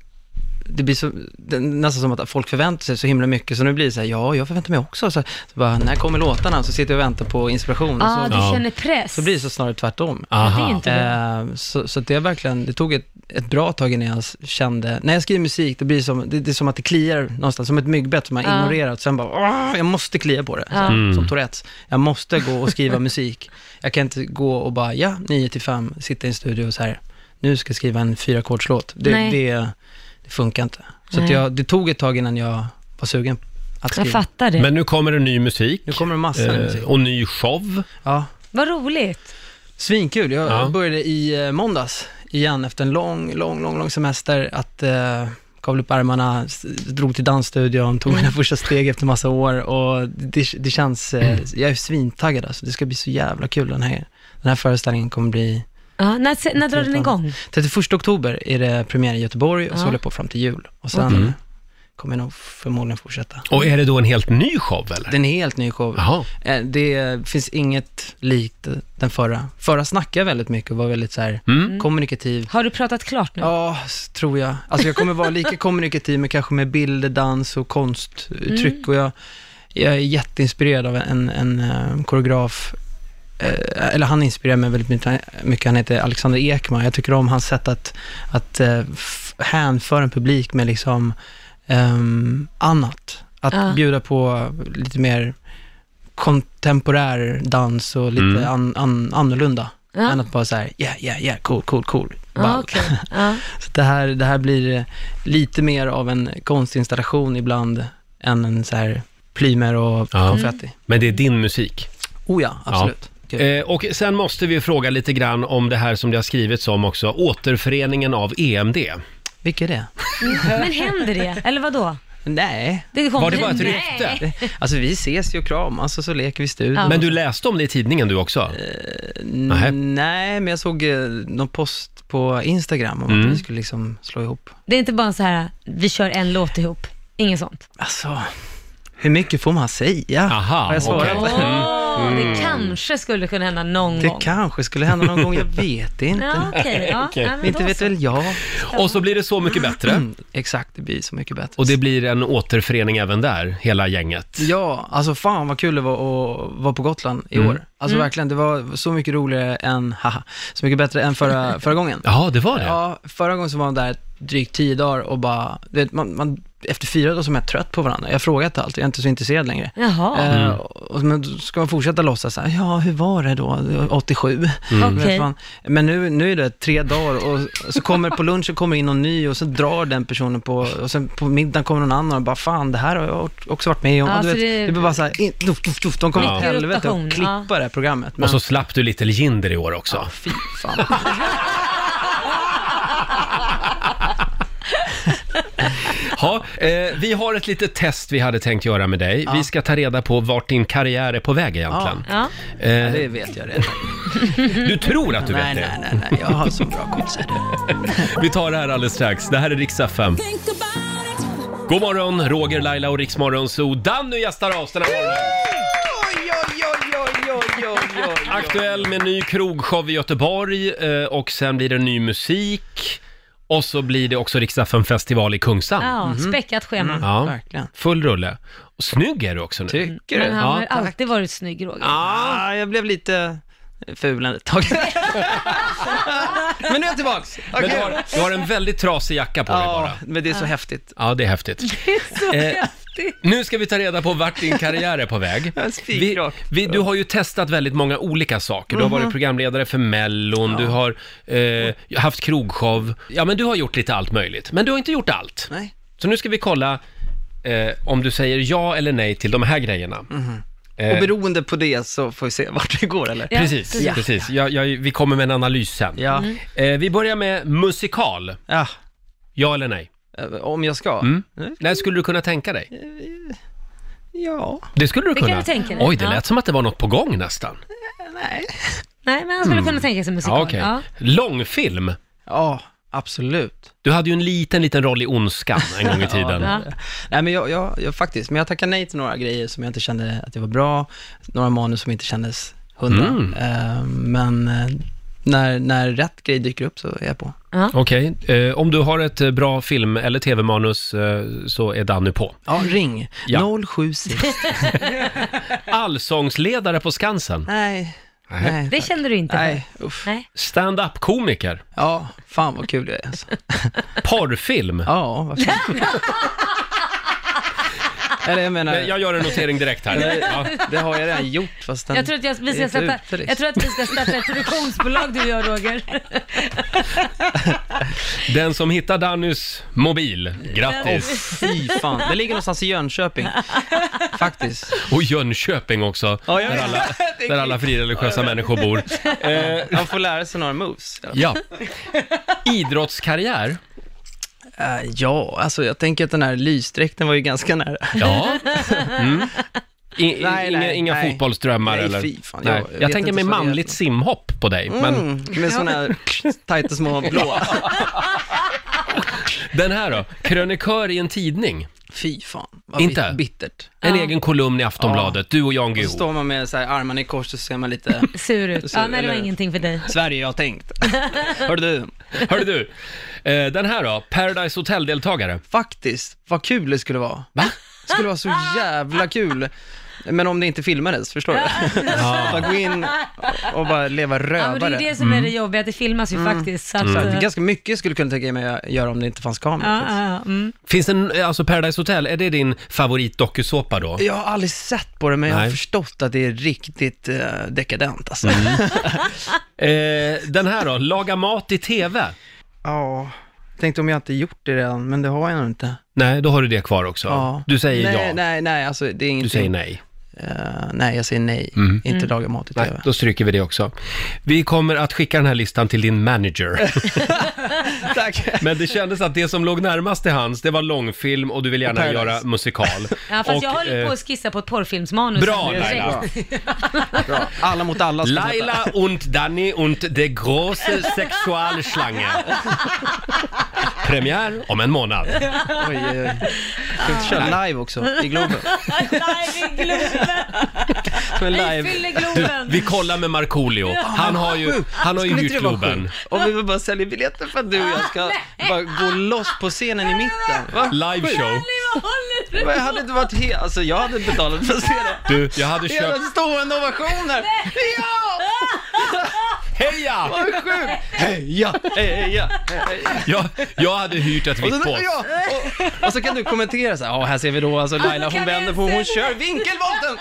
Speaker 11: det blir så, det, är nästan som att folk förväntar sig så himla mycket, så nu blir det så här, ja, jag förväntar mig också. Så, här, så bara, när kommer låtarna? Så sitter jag och väntar på inspiration. och
Speaker 2: Ja,
Speaker 11: så,
Speaker 2: du
Speaker 1: Ja.
Speaker 2: känner press.
Speaker 11: så blir det så snarare tvärtom.
Speaker 2: Det är
Speaker 1: Aha.
Speaker 2: inte bra.
Speaker 11: Eh, så, så att det, är verkligen, det tog ett, ett bra tag innan jag s- kände, när jag skriver musik, det blir som, det, det är som att det kliar någonstans, som ett myggbett som man
Speaker 2: Ja.
Speaker 11: ignorerar och sen bara, "Åh, jag måste klia på det.
Speaker 2: Ja.
Speaker 11: Så,
Speaker 1: Mm.
Speaker 11: Som Tourettes, jag måste gå och skriva musik. Jag kan inte gå och bara, ja, 9 till 5, sitta i en studio och så här, nu ska jag skriva en fyrakordslåt. Det,
Speaker 2: Nej.
Speaker 11: det, det funkar inte. Så att
Speaker 2: Nej.
Speaker 11: jag, det tog ett tag innan jag var sugen att
Speaker 2: Jag
Speaker 11: skriva.
Speaker 2: fattar det.
Speaker 1: Men nu kommer det ny musik
Speaker 11: Nu kommer det massor med
Speaker 1: eh,
Speaker 11: musik.
Speaker 1: och ny show.
Speaker 11: Ja.
Speaker 2: Vad roligt.
Speaker 11: Svinkul. Jag
Speaker 1: Ja.
Speaker 11: började i eh, måndags igen efter en lång, lång, lång, lång semester att eh, kavla upp ärmarna, s- drog till dansstudion,
Speaker 2: Mm.
Speaker 11: tog mina första steg efter massa år och det, det känns, eh,
Speaker 1: Mm.
Speaker 11: jag är svintaggad alltså. Det ska bli så jävla kul den här, den här föreställningen kommer bli
Speaker 2: Ja, när, se- när drar den igång?
Speaker 11: 31 oktober är det premiär i Göteborg och så
Speaker 2: Ja.
Speaker 11: håller jag på fram till jul och sen kommer jag nog förmodligen fortsätta.
Speaker 1: Mm. Och är det då en helt ny show eller?
Speaker 11: Det är en helt ny show.
Speaker 1: Jaha.
Speaker 11: Eh, Det finns inget likt den förra. Förra snackade jag väldigt mycket och var väldigt så här
Speaker 1: Mm.
Speaker 11: kommunikativ.
Speaker 2: Har du pratat klart nu?
Speaker 11: Ja, s- tror jag. Alltså jag kommer vara lika kommunikativ, men kanske med bilder, dans och
Speaker 12: Mm.
Speaker 11: konstuttryck. Och jag, jag är jätteinspirerad av en, en eh, koreograf eh, eller han inspirerar mig väldigt mycket. mycket. Han heter Alexander Ekman. Jag tycker om hans sätt att, att eh, f- hänföra en publik med liksom ehm, annat. Att
Speaker 12: Ja.
Speaker 11: bjuda på lite mer kontemporär dans och lite
Speaker 12: Mm.
Speaker 11: an, an, annorlunda.
Speaker 12: Ja.
Speaker 11: Än att bara så här, yeah, yeah, yeah, cool, cool, cool.
Speaker 12: Ja,
Speaker 11: Wow.
Speaker 12: okej.
Speaker 2: Ah.
Speaker 12: Ja.
Speaker 11: Ah, Så det här, det här blir eh, lite mer av en konstinstallation ibland än en så här plymer och konfetti.
Speaker 2: Mm.
Speaker 1: Men det är din musik?
Speaker 11: Mm. Oh ja, absolut.
Speaker 1: Ja. Eh, och sen måste vi fråga lite grann om det här som det har skrivits om också, återföreningen av E EMD.
Speaker 11: Vilka är det?
Speaker 2: Men händer det? Eller vad då?
Speaker 11: Nej.
Speaker 2: Det kom-
Speaker 1: Var det bara ett
Speaker 2: Nej.
Speaker 1: rykte?
Speaker 11: Alltså vi ses ju och kramas och så leker vi i studion. Eh,
Speaker 1: Men du läste om det i tidningen du också? Nähä.
Speaker 11: Nej, men jag såg eh, någon post på Instagram om
Speaker 1: Mm.
Speaker 11: att vi skulle liksom slå ihop.
Speaker 2: Det är inte bara så här, vi kör en låt ihop. Inget sånt.
Speaker 11: Alltså, hur mycket får man säga? Aha, Har jag svarat?
Speaker 2: okej. Åh,
Speaker 11: Mm.
Speaker 2: Det kanske skulle kunna hända någon
Speaker 11: Det
Speaker 2: gång.
Speaker 11: kanske skulle hända någon gång, jag vet inte.
Speaker 2: Ja, okej, ja. Okej. Ja, men
Speaker 11: Inte
Speaker 2: då
Speaker 11: vet
Speaker 2: så.
Speaker 11: väl jag. Mm,
Speaker 1: Och så blir det så mycket bättre.
Speaker 11: Exakt, det blir så mycket bättre.
Speaker 1: Och det blir en återförening även där, hela gänget.
Speaker 11: Ja, alltså fan vad kul det var att vara på Gotland i
Speaker 1: Mm.
Speaker 11: år. Alltså
Speaker 1: Mm.
Speaker 11: verkligen, det var så mycket roligare än, haha, så mycket bättre än förra, förra gången.
Speaker 1: Ja, det var det.
Speaker 11: Ja, förra gången så var man där drygt tio dagar och bara, du vet, man, man, efter fyra dagar så är man trött på varandra. Jag har frågat allt, jag är inte så intresserad längre.
Speaker 2: Jaha.
Speaker 11: Eh,
Speaker 2: Mm.
Speaker 11: och, men då ska man fortsätta låtsas så här, ja hur var det då, 87?
Speaker 12: Mm. Okej.
Speaker 11: Vet man. Men nu, nu är det tre dagar och så kommer på lunch så kommer in någon ny och så drar den personen på, och sen på middagen kommer någon annan och bara fan det här har jag också varit med om.
Speaker 2: Ja,
Speaker 11: Och du
Speaker 2: så
Speaker 11: vet,
Speaker 2: det-
Speaker 11: det blir bara så här, in, duff, duff, duff, de kommer
Speaker 1: Ja.
Speaker 11: åt helvete
Speaker 2: Rotation,
Speaker 11: och klippa det här programmet.
Speaker 1: Och så slapp du Little Jinder i år också. Ja,
Speaker 11: fy fan.
Speaker 1: ha, eh, vi har ett litet test vi hade tänkt göra med dig. Vi ska ta reda på vart din karriär är på väg egentligen.
Speaker 2: Ja.
Speaker 1: Eh,
Speaker 11: Ja, det vet jag redan.
Speaker 1: Du tror att du
Speaker 11: nej,
Speaker 1: vet det?
Speaker 11: Nej, nej, nej, jag har så bra koll så är det.
Speaker 1: Vi tar det här alldeles strax. Det här är riksdag 5. God morgon, Roger, Laila och Riksmorgon Zoo. Danny gästar oss den här morgonen. Aktuell med ny krogshow i Göteborg eh, och sen blir det ny musik. Och så blir det också riksdag 5 festival i Kungshamn.
Speaker 2: Ja,
Speaker 1: Mhm.
Speaker 2: späckat schema.
Speaker 11: Mm.
Speaker 1: Ja, Full rulle. Och snygg är du också nu.
Speaker 11: Tycker
Speaker 2: Men han har
Speaker 1: Ja.
Speaker 2: väl alltid varit snygg, Roger.
Speaker 11: Ah, jag blev lite ful ett tag. Men nu är jag tillbaks.
Speaker 1: Men du, har, du har en väldigt trasig jacka på dig bara.
Speaker 11: men det är så Ja. häftigt.
Speaker 1: Ja, det är häftigt.
Speaker 2: Det är så
Speaker 1: Eh,
Speaker 2: häftigt.
Speaker 1: Nu ska vi ta reda på vart din karriär är på väg. Vi, vi, du har ju testat väldigt många olika saker. Du har
Speaker 9: Mhm.
Speaker 1: varit programledare för Mellon, du har eh, haft krogshow. Ja, men du har gjort lite allt möjligt. Men du har inte gjort allt.
Speaker 11: Nej.
Speaker 1: Så nu ska vi kolla eh, om du säger ja eller nej till de här grejerna.
Speaker 11: Mhm.
Speaker 1: Eh,
Speaker 11: Och beroende på det så får vi se vart det går eller?
Speaker 1: Precis,
Speaker 11: Ja.
Speaker 1: precis. Jag, jag, vi kommer med en analys sen.
Speaker 11: Ja. Mm.
Speaker 1: Eh, vi börjar med musikal.
Speaker 11: Ja. Eh,
Speaker 1: eller nej?
Speaker 11: Om jag ska? Eh,
Speaker 1: Mm. När skulle du kunna tänka dig?
Speaker 11: Ja.
Speaker 1: Det skulle du
Speaker 2: Det kan
Speaker 1: kunna?
Speaker 2: du tänka dig.
Speaker 1: Oj, det
Speaker 2: Ja.
Speaker 1: lät som att det var något på gång nästan.
Speaker 2: Nej, men han skulle
Speaker 1: Mm.
Speaker 2: kunna tänka sig musikal.
Speaker 1: Ja, okej.
Speaker 2: Ja.
Speaker 1: Långfilm?
Speaker 11: Ja, absolut.
Speaker 1: Du hade ju en liten, liten roll i Ondskan en gång i tiden.
Speaker 11: ja. Nej men jag, jag, jag faktiskt, men jag tackar nej till några grejer som jag inte kände att det var bra, några manus som inte kändes hundra.
Speaker 1: Mm.
Speaker 11: Eh, men eh, när, när rätt grej dyker upp så är jag på.
Speaker 1: Okej, eh, om du har ett eh, bra film eller tv-manus eh, så är Danny på.
Speaker 11: Ja, ring.
Speaker 1: Ja.
Speaker 11: 076.
Speaker 1: Allsångsledare på Skansen?
Speaker 11: Nej.
Speaker 1: Nej.
Speaker 2: Det kände du inte
Speaker 11: Nej,
Speaker 2: för? Nej.
Speaker 1: Stand-up-komiker?
Speaker 11: Ja, fan vad kul det är alltså.
Speaker 1: Porrfilm?
Speaker 11: Ja, varför Eller jag menar...
Speaker 1: Jag gör en notering direkt här.
Speaker 11: Det,
Speaker 1: Ja.
Speaker 11: det har jag redan gjort fast den
Speaker 2: Jag tror, att jag, vi
Speaker 11: är
Speaker 2: ska
Speaker 11: inte
Speaker 2: sätta,
Speaker 11: ut för det.
Speaker 2: jag tror att vi ska starta ett produktionsbolag du och jag, Roger.
Speaker 1: Den som hittar Dannys mobil, grattis!
Speaker 11: Åh, fy fan. Det ligger någonstans i Jönköping. Faktiskt.
Speaker 1: Och Jönköping också, där alla, där alla frireligiösa människor bor. Eh,
Speaker 11: Man får lära sig några moves.
Speaker 1: Ja. Idrottskarriär?
Speaker 11: ja, alltså jag tänker att den här lysdräkten var ju ganska nära.
Speaker 1: Ja. Mm. I,
Speaker 11: Nej,
Speaker 1: inga
Speaker 11: nej,
Speaker 1: inga
Speaker 11: nej.
Speaker 1: fotbollsdrömmar
Speaker 11: Nej,
Speaker 1: eller?
Speaker 11: fy fan,
Speaker 1: Nej.
Speaker 11: jag vet
Speaker 1: Jag, tänker
Speaker 11: inte
Speaker 1: mig
Speaker 11: så det
Speaker 1: manligt simhopp på dig, men
Speaker 11: Mm, med sådana här tajta små blå.
Speaker 1: den här då? Krönikör i en tidning?
Speaker 11: Fy fan, vad
Speaker 1: Inte?
Speaker 11: bit- bittert.
Speaker 1: En
Speaker 11: Ja.
Speaker 1: egen kolumn i Aftonbladet, du och Jan
Speaker 11: Och så
Speaker 1: Guillou.
Speaker 11: står man med så här armarna i kors och så ser man lite...
Speaker 2: Sur ut. Ja, nej, det var
Speaker 11: eller-
Speaker 2: ingenting för dig.
Speaker 11: Sverige, jag har tänkt. Hörde du?
Speaker 1: Hörde du, eh, den här då? Paradise Hotel-deltagare?
Speaker 11: Faktiskt, vad kul det skulle vara. Va? Det skulle vara så jävla kul. Men om det inte filmades, förstår du?
Speaker 2: Ja.
Speaker 11: bara gå in och bara leva rövare.
Speaker 2: Ja, men det är ju det som är
Speaker 11: Mm.
Speaker 1: Mm.
Speaker 2: det jobbiga, att det filmas ju faktiskt. Så att,
Speaker 11: Så
Speaker 2: eh,
Speaker 11: att Mm. Ganska mycket skulle jag kunna tänka mig att göra om det inte fanns kamera.
Speaker 2: ja, ja, ja, mm.
Speaker 1: Finns det en, alltså Paradise Hotel, är det din favoritdokusåpa då?
Speaker 11: Jag har aldrig sett på det, men jag har
Speaker 1: Nej.
Speaker 11: förstått att det är riktigt eh, dekadent alltså.
Speaker 1: Mm. eh, den här då, laga mat i TV?
Speaker 11: Ja, tänkte om jag inte gjort det redan, men det har jag nog inte.
Speaker 1: Nej, då har du det kvar också.
Speaker 11: Ja.
Speaker 1: Du säger
Speaker 11: nej,
Speaker 1: ja.
Speaker 11: Nej, nej, alltså det är ingenting.
Speaker 1: Du säger nej.
Speaker 11: Eh, nej, jag säger nej.
Speaker 1: Mm.
Speaker 11: Inte
Speaker 1: Mm.
Speaker 11: laga mat i
Speaker 1: Nej,
Speaker 11: TV.
Speaker 1: då stryker vi det också. Vi kommer att skicka den här listan till din manager.
Speaker 11: Tack.
Speaker 1: Men det kändes att det som låg närmast till hans, det var långfilm och du vill gärna
Speaker 11: Paradise.
Speaker 1: göra musikal.
Speaker 2: ja fast
Speaker 1: Och,
Speaker 2: jag håller
Speaker 1: eh,
Speaker 2: på att skissa på ett porrfilmsmanus.
Speaker 1: Bra,
Speaker 2: här direkt.
Speaker 1: Laila.
Speaker 11: Bra. Alla mot alla. ska jag
Speaker 1: Laila und Danny und de große Sexualschlange. Premiär om en månad.
Speaker 11: säga. Oj, oj, oj. Ska vi inte köra live också, i Globen?
Speaker 2: Nej, vi glömmer.
Speaker 11: Som en live.
Speaker 2: Vi fyller Globen.
Speaker 1: Vi kollar med Markoolio. Han har ju, han har ju
Speaker 11: Skulle
Speaker 1: hyrt
Speaker 11: inte det vara
Speaker 1: Globen.
Speaker 11: sjukt? Om vi väl bara säljer biljetter för att du och jag ska bara gå loss på scenen i mitten. Va?
Speaker 1: Live
Speaker 11: Sjukt.
Speaker 1: show.
Speaker 2: Vad håller du
Speaker 11: Va, Jag hade inte varit helt, alltså jag hade betalat för att se det.
Speaker 1: Du, jag hade
Speaker 11: Det är
Speaker 1: köpt...
Speaker 11: en stående ovation här. Ja!
Speaker 1: Heja!
Speaker 11: Vad sjukt! Heja, heja, heja.
Speaker 1: Jag, jag hade hyrt ett
Speaker 11: Och så,
Speaker 1: vitt pås.
Speaker 11: ja, och, och så kan du kommentera så här, ja här ser vi då alltså Laila hon
Speaker 2: Kan vi
Speaker 11: vänder på, hon
Speaker 2: ens se
Speaker 11: kör vinkelvolten!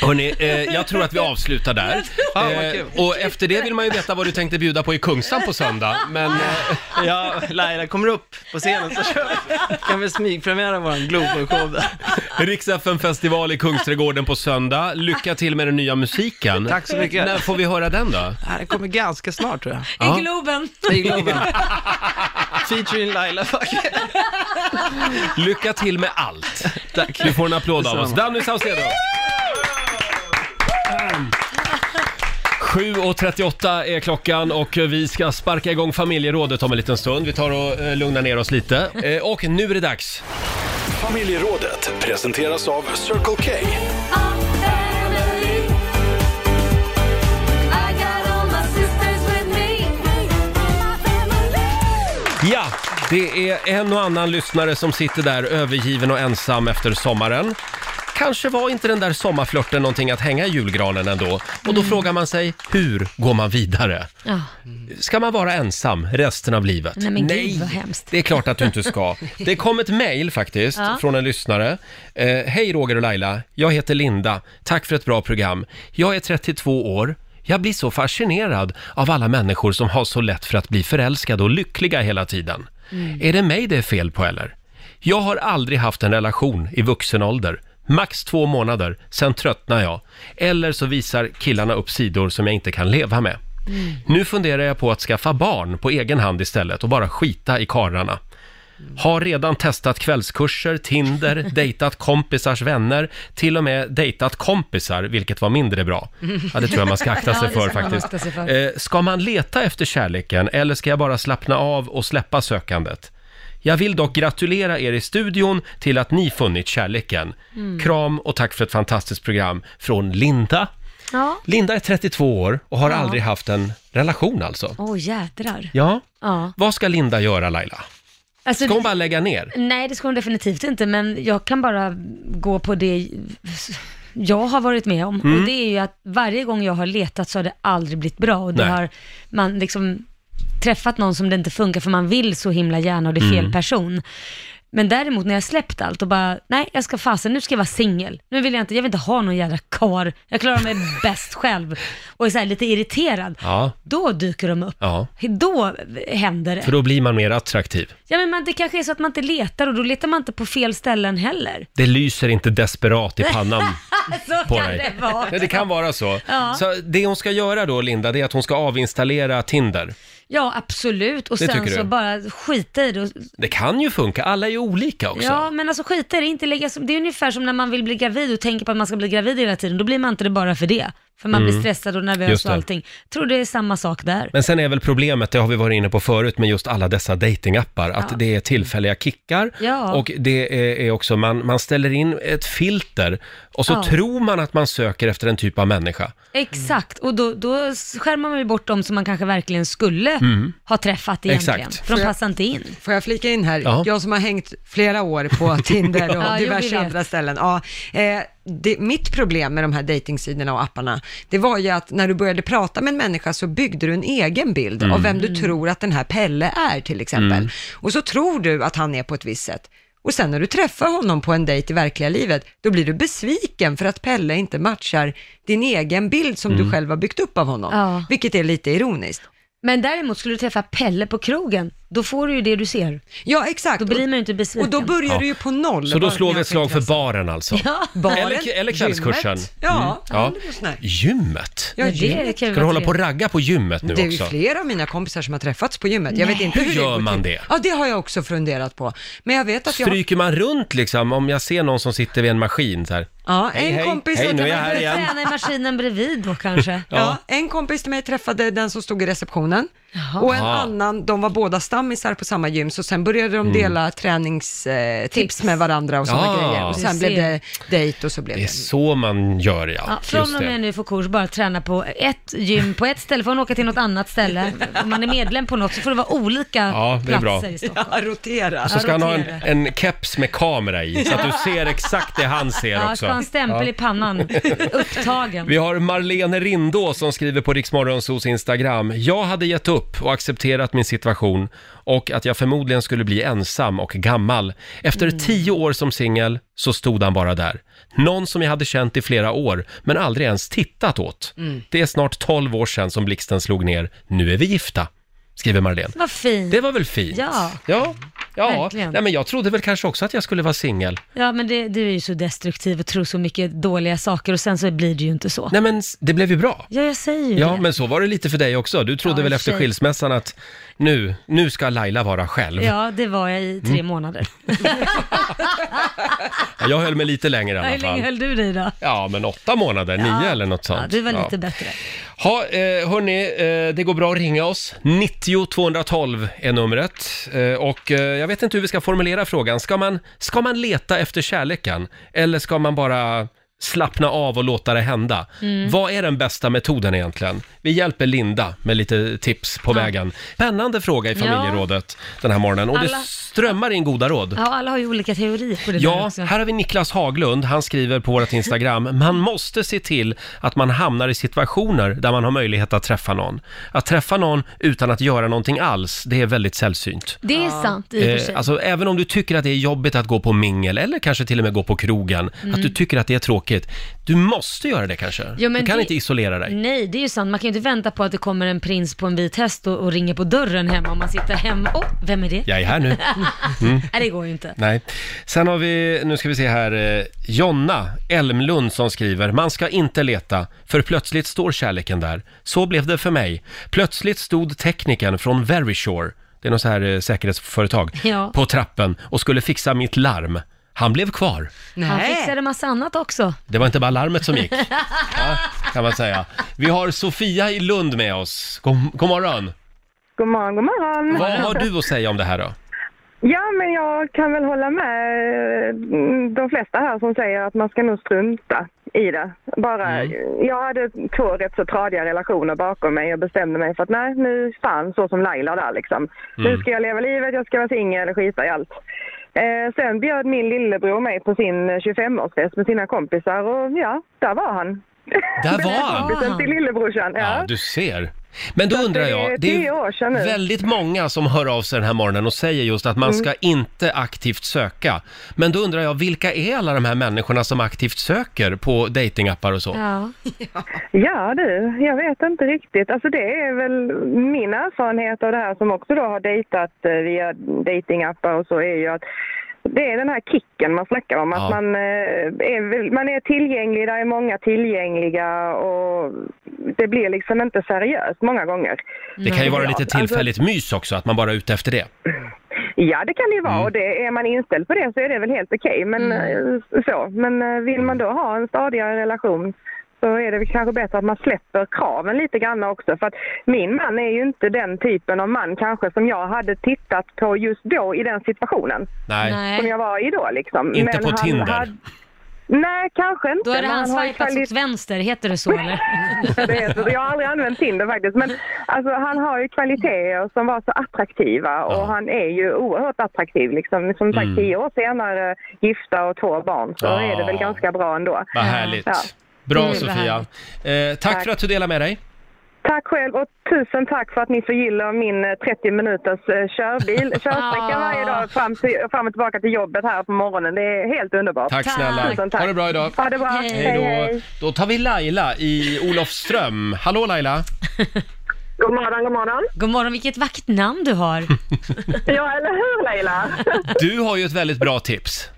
Speaker 1: Hörrni, eh, jag tror att vi avslutar där. Eh,
Speaker 11: Fan, vad kul.
Speaker 1: och efter det vill man ju veta vad du tänkte bjuda på i Kungsan på söndag. Men eh,
Speaker 11: Ja, Laila kommer upp på scenen så kör vi. Kan vi smygpremiera våran Globen-show där.
Speaker 1: Rix FM festival i Kungsträdgården på söndag. Lycka till med den nya musiken.
Speaker 11: Tack så mycket.
Speaker 1: När får vi höra den då?
Speaker 11: Det här kommer ganska snart tror jag.
Speaker 1: Ja.
Speaker 2: I Globen.
Speaker 11: I Globen. Featuring Laila Bagge.
Speaker 1: Lycka till med allt.
Speaker 11: Tack.
Speaker 1: Du får en applåd av oss.
Speaker 11: Detsamma.
Speaker 1: Danny Saucedo! 7.38 är klockan och vi ska sparka igång familjerådet om en liten stund. Vi tar och eh, lugnar ner oss lite. Eh, Och nu är det dags.
Speaker 4: Familjerådet presenteras av Circle K.
Speaker 1: Ja, det är en och annan lyssnare som sitter där övergiven och ensam efter sommaren. Kanske var inte den där sommarflörten någonting att hänga i julgranen ändå. Och då
Speaker 2: Mm.
Speaker 1: frågar man sig, hur går man vidare?
Speaker 2: Ja.
Speaker 1: Ska man vara ensam resten av livet?
Speaker 2: Nej men gud vad hemskt.
Speaker 1: Det är klart att du inte ska. Det kom ett mejl faktiskt
Speaker 2: Ja.
Speaker 1: från en lyssnare. Eh, Hej Roger och Laila, jag heter Linda. Tack för ett bra program. Jag är 32 år. Jag blir så fascinerad av alla människor som har så lätt för att bli förälskade och lyckliga hela tiden.
Speaker 2: Mm.
Speaker 1: Är det mig det är fel på eller? Jag har aldrig haft en relation i vuxen ålder. Max två månader, sen tröttnar jag. Eller så visar killarna upp sidor som jag inte kan leva med.
Speaker 11: Mm.
Speaker 1: Nu funderar jag på att skaffa barn på egen hand istället och bara skita i karlarna. Har redan testat kvällskurser, Tinder, dejtat kompisars vänner, till och med dejtat kompisar, vilket var mindre bra. Ja, det tror jag man ska akta
Speaker 2: Ja,
Speaker 1: sig
Speaker 2: det
Speaker 1: för
Speaker 2: ska man
Speaker 1: faktiskt.
Speaker 2: akta sig för.
Speaker 1: Eh, ska man leta efter kärleken eller ska jag bara slappna av och släppa sökandet? Jag vill dock gratulera er i studion till att ni funnit kärleken.
Speaker 2: Mm.
Speaker 1: Kram och tack för ett fantastiskt program från Linda.
Speaker 2: Ja.
Speaker 1: Linda är 32 år och har
Speaker 2: Ja.
Speaker 1: aldrig haft en relation alltså.
Speaker 2: Åh jädrar.
Speaker 1: Ja.
Speaker 2: Ja.
Speaker 1: Vad ska Linda göra Laila?
Speaker 2: Alltså,
Speaker 1: Ska hon bara lägga ner?
Speaker 2: Nej, det ska hon definitivt inte, men jag kan bara gå på det jag har varit med om.
Speaker 1: Mm.
Speaker 2: Och det är ju att varje gång jag har letat så har det aldrig blivit bra. Och då
Speaker 1: Nej.
Speaker 2: har man liksom träffat någon som det inte funkar för man vill så himla gärna och det är fel
Speaker 1: Mm.
Speaker 2: person. Men däremot när jag släppt allt och bara, nej jag ska fasen, nu ska jag vara singel. Nu vill jag inte, jag vill inte ha någon jävla kar. Jag klarar mig bäst själv. Och är så här lite irriterad.
Speaker 1: Ja,
Speaker 2: Då dyker de upp.
Speaker 1: ja.
Speaker 2: Då händer det.
Speaker 1: För då blir man mer attraktiv.
Speaker 2: Ja men man, det kanske är så att man inte letar och då letar man inte på fel ställen heller.
Speaker 1: Det lyser inte desperat i pannan
Speaker 2: så
Speaker 1: på
Speaker 2: kan
Speaker 1: dig.
Speaker 2: det vara.
Speaker 1: Ja, det kan vara så.
Speaker 2: Ja.
Speaker 1: Så det hon ska göra då, Linda, det är att hon ska avinstallera Tinder.
Speaker 2: Ja absolut och
Speaker 1: Det
Speaker 2: sen
Speaker 1: tycker
Speaker 2: så
Speaker 1: du?
Speaker 2: bara skita i det. Och,
Speaker 1: Det kan ju funka, alla är ju olika också.
Speaker 2: ja men alltså skita i det, inte lägga, det är ungefär som när man vill bli gravid och tänker på att man ska bli gravid hela tiden, då blir man inte det bara för det. För man
Speaker 1: Mm.
Speaker 2: blir stressad och
Speaker 1: Just
Speaker 2: nervös
Speaker 1: det.
Speaker 2: och allting. Tror det är samma sak där.
Speaker 1: Men sen är väl problemet, det har vi varit inne på förut, med just alla dessa datingappar att
Speaker 2: Ja.
Speaker 1: det är tillfälliga kickar
Speaker 2: Ja.
Speaker 1: och det är- är också, man, man ställer in ett filter Och så
Speaker 2: Ja.
Speaker 1: tror man att man söker efter en typ av människa.
Speaker 2: Exakt, och då, då skärmar man ju bort dem som man kanske verkligen skulle
Speaker 1: Mm.
Speaker 2: ha träffat egentligen.
Speaker 1: Exakt.
Speaker 2: För
Speaker 3: Får
Speaker 2: de
Speaker 3: jag-
Speaker 2: passar inte in.
Speaker 3: Får jag flika in här?
Speaker 2: Ja.
Speaker 3: Jag som har hängt flera år på Tinder och
Speaker 2: Ja, jo, vi
Speaker 3: diverse
Speaker 2: vet.
Speaker 3: andra ställen. Ja, eh, det, mitt problem med de här dejtingsidorna och apparna, det var ju att när du började prata med en människa så byggde du en egen bild
Speaker 12: Mm.
Speaker 3: av vem du
Speaker 12: Mm.
Speaker 3: tror att den här Pelle är till exempel.
Speaker 12: Mm.
Speaker 3: Och så tror du att han är på ett visst sätt. Och sen när du träffar honom på en dejt i verkliga livet, då blir du besviken för att Pelle inte matchar din egen bild som
Speaker 2: Mm.
Speaker 3: du själv har byggt upp av honom.
Speaker 2: Ja.
Speaker 3: Vilket är lite ironiskt.
Speaker 2: Men däremot skulle du träffa Pelle på krogen, då får du ju det du ser.
Speaker 3: Ja, exakt.
Speaker 2: Då blir man ju inte besviken.
Speaker 3: Och då börjar
Speaker 1: Ja.
Speaker 3: du ju på noll.
Speaker 1: Så då
Speaker 3: bara
Speaker 1: slår vi
Speaker 3: med
Speaker 1: ett slag för
Speaker 3: intresse.
Speaker 1: baren alltså.
Speaker 2: Ja.
Speaker 3: Baren,
Speaker 1: eller, eller kvällskursen.
Speaker 3: gymmet. Ja, eller något sånt där.
Speaker 1: Gymmet?
Speaker 3: Ja, det kan ju
Speaker 1: Ska du
Speaker 3: vara
Speaker 1: hålla på och
Speaker 3: trevligt.
Speaker 1: ragga på gymmet nu
Speaker 3: det är ju
Speaker 1: också?
Speaker 3: flera av mina kompisar som har träffats på gymmet. Jag vet
Speaker 1: Nej.
Speaker 3: inte
Speaker 1: Hur
Speaker 3: hur,
Speaker 1: gör
Speaker 3: det går
Speaker 1: man
Speaker 3: till.
Speaker 1: det?
Speaker 3: Ja, det har jag också funderat på. Men jag vet att jag...
Speaker 1: Stryker man runt liksom om jag ser någon som sitter vid en maskin så här?
Speaker 3: Ja,
Speaker 1: Hej,
Speaker 3: en
Speaker 1: hej.
Speaker 3: kompis
Speaker 1: Hej,
Speaker 3: som
Speaker 1: nu är
Speaker 3: kan
Speaker 1: jag
Speaker 3: man
Speaker 1: här
Speaker 3: börja
Speaker 1: igen.
Speaker 2: Träna i maskinen bredvid då kanske.
Speaker 1: Ja.
Speaker 3: Ja, en kompis till mig träffade den som stod i receptionen och en
Speaker 1: Jaha.
Speaker 3: annan, de var båda stammisar på samma gym, så sen började de
Speaker 1: Mm.
Speaker 3: dela träningstips eh, tips med varandra och sådana
Speaker 1: Ja.
Speaker 3: grejer. Och
Speaker 1: Du
Speaker 3: sen blev
Speaker 1: ser.
Speaker 3: det dejt och så blev
Speaker 1: Det är
Speaker 3: det...
Speaker 1: så man gör ja.
Speaker 2: Ja, från
Speaker 1: Just
Speaker 2: och
Speaker 1: det.
Speaker 2: med nu får kurs bara träna på ett gym på ett ställe, får man åka till något annat ställe. Om man är medlem på något så får det vara olika
Speaker 1: Ja, det är bra.
Speaker 2: platser i Stockholm.
Speaker 3: Ja, rotera.
Speaker 1: Och så ska han ha en, en keps med kamera i, så att du ser exakt det han ser
Speaker 2: Ja, ska
Speaker 1: också.
Speaker 2: ha en stämpel
Speaker 1: Ja.
Speaker 2: i pannan, upptagen.
Speaker 1: Vi har Marlene Rindå som skriver på Riksmorgonsos Instagram. Jag hade gett upp och accepterat min situation och att jag förmodligen skulle bli ensam och gammal. Efter
Speaker 2: Mm.
Speaker 1: tio år som singel så stod han bara där. Någon som jag hade känt i flera år, men aldrig ens tittat åt.
Speaker 2: Mm.
Speaker 1: Det är snart tolv år sedan som blixten slog ner. Nu är vi gifta, skriver Marlene.
Speaker 2: Vad fint.
Speaker 1: Det var väl fint?
Speaker 2: Ja.
Speaker 1: Ja. Ja,
Speaker 2: Verkligen.
Speaker 1: Nej, men jag trodde väl kanske också att jag skulle vara singel.
Speaker 2: Ja, men det, du är ju så destruktiv och tror så mycket dåliga saker och sen så blir det ju inte så.
Speaker 1: Nej, men s- det blev ju bra.
Speaker 2: Ja, jag säger ju
Speaker 1: Ja,
Speaker 2: det.
Speaker 1: men så var det lite för dig också. Du trodde
Speaker 2: Ja,
Speaker 1: väl
Speaker 2: i
Speaker 1: efter
Speaker 2: sig.
Speaker 1: skilsmässan att nu, nu ska Laila vara själv. Ja.
Speaker 2: Ja, det var jag i tre
Speaker 1: Mm.
Speaker 2: månader.
Speaker 1: Jag höll mig lite längre i alla
Speaker 2: Hur länge
Speaker 1: fall.
Speaker 2: höll du dig då?
Speaker 1: Ja, men åtta månader, nio eller något sånt.
Speaker 2: Ja, du var
Speaker 1: Ja.
Speaker 2: lite bättre.
Speaker 1: Ha, eh, hörni, eh, det går bra att ringa oss. 90 212 är numret. Eh, och eh, jag vet inte hur vi ska formulera frågan. Ska man, ska man leta efter kärleken? Eller ska man bara slappna av och låta det hända?
Speaker 9: Mm.
Speaker 1: Vad är den bästa metoden egentligen? Vi hjälper Linda med lite tips på vägen. Spännande fråga i
Speaker 2: Ja.
Speaker 1: familjerådet den här morgonen. Och det
Speaker 2: Alla-
Speaker 1: strömmar in goda råd.
Speaker 2: Ja, alla har ju olika teorier på det där
Speaker 1: Ja,
Speaker 2: också.
Speaker 1: här har vi Niklas Haglund. Han skriver på vårt Instagram. Man måste se till att man hamnar i situationer där man har möjlighet att träffa någon. Att träffa någon utan att göra någonting alls, det är väldigt sällsynt.
Speaker 2: Det är sant i och för sig.
Speaker 1: Eh, alltså, även om du tycker att det är jobbigt att gå på mingel eller kanske till och med gå på krogen,
Speaker 2: Mm.
Speaker 1: att du tycker att det är tråkigt. Du måste göra det kanske.
Speaker 2: Jo, men
Speaker 1: du kan
Speaker 2: det-
Speaker 1: inte isolera dig.
Speaker 2: Nej, det är ju sant. Man kan ju inte vänta på att det kommer en prins på en vit häst och, och ringer på dörren hemma om man sitter hemma. Åh, oh, vem är det?
Speaker 1: Jag är här nu. Mm.
Speaker 2: Nej, det går ju inte.
Speaker 1: Nej. Sen har vi, nu ska vi se här, eh, Jonna Elmlund som skriver, man ska inte leta, för plötsligt står kärleken där. Så blev det för mig. Plötsligt stod teknikern från Verisure, det är något så här eh, säkerhetsföretag,
Speaker 2: Ja.
Speaker 1: på trappen och skulle fixa mitt larm. Han blev kvar.
Speaker 2: Han fixade massa annat också.
Speaker 1: Det var inte bara larmet som gick, kan man säga. Vi har Sofia i Lund med oss. God, god morgon!
Speaker 5: God morgon, god morgon.
Speaker 1: Vad har du att säga om det här då?
Speaker 5: Ja, men jag kan väl hålla med eh, de flesta här som säger att man ska nog strunta i det. Bara,
Speaker 1: Mm.
Speaker 5: Jag hade två rätt så tradiga relationer bakom mig och bestämde mig för att nej, nu fan så som Laila där liksom.
Speaker 1: Mm.
Speaker 5: Nu ska jag leva livet, jag ska vara singel och skita i allt. Eh, sen bjöd min lillebror mig på sin eh, 25-årsfest med sina kompisar och ja, där var han.
Speaker 1: Där
Speaker 5: Den här
Speaker 1: var han.
Speaker 5: Kompisen till lillebrorsan. Ja.
Speaker 1: Ja, du ser. Men då undrar
Speaker 5: det är
Speaker 1: jag,
Speaker 5: tio år sedan nu.
Speaker 1: väldigt många som hör av sig den här morgonen och säger just att man
Speaker 5: Mm.
Speaker 1: ska inte aktivt söka. Men då undrar jag, vilka är alla de här människorna som aktivt söker på datingappar och så?
Speaker 2: Ja.
Speaker 5: ja du, jag vet inte riktigt. Alltså det är väl min erfarenhet av det här som också då har dejtat eh, via datingappar och så är ju att det är den här kicken man snackar om.
Speaker 13: Ja.
Speaker 5: Att man, eh, är, väl- man är tillgänglig, där är många tillgängliga och det blir liksom inte seriöst många gånger.
Speaker 1: Det kan ju vara
Speaker 5: Ja,
Speaker 1: lite
Speaker 5: alltså-
Speaker 1: tillfälligt mys också, att man bara är ute efter det.
Speaker 5: Ja, det kan det ju
Speaker 2: Mm.
Speaker 5: vara. Och det, är man inställd på det så är det väl helt okej. Men, eh, så. men eh, vill man då ha en stadigare relation så är det väl kanske bättre att man släpper kraven lite grann också. För att min man är ju inte den typen av man kanske som jag hade tittat på just då i den situationen.
Speaker 1: Nej.
Speaker 5: Som jag var i då liksom.
Speaker 1: Inte på
Speaker 5: han
Speaker 1: Tinder.
Speaker 5: hade- Nej, kanske inte.
Speaker 2: Då hade
Speaker 5: men
Speaker 2: han
Speaker 5: har ju
Speaker 2: swipats
Speaker 5: kvali-
Speaker 2: åt vänster, heter det så eller?
Speaker 5: Ja, det heter det. Jag har aldrig använt Tinder faktiskt. Men alltså, han har ju kvaliteter som var så attraktiva och han är ju oerhört attraktiv. Liksom. Som sagt,
Speaker 1: Mm.
Speaker 5: tio år senare, gifta och två barn, så
Speaker 1: Ja.
Speaker 5: är det väl ganska bra ändå.
Speaker 1: Vad härligt.
Speaker 5: Ja.
Speaker 1: Bra
Speaker 5: Mm, vad
Speaker 1: Sofia.
Speaker 5: härligt.
Speaker 1: Eh, tack
Speaker 5: Tack.
Speaker 1: för att du delade med dig.
Speaker 5: Tack själv och tusen tack för att ni förgyller min eh, 30 minuters eh, körbil, körsträcka varje dag fram, till, fram och tillbaka till jobbet här på morgonen. Det är helt underbart.
Speaker 1: Tack snälla.
Speaker 5: Tusen tack.
Speaker 1: Ha det bra idag.
Speaker 5: Ha det bra.
Speaker 1: Hej då. Då tar vi Laila i Olofström. Hallå Laila.
Speaker 5: God morgon, god morgon.
Speaker 2: God morgon, vilket vackert namn du har.
Speaker 5: Ja, eller hur Leila?
Speaker 1: Du har ju ett väldigt bra tips.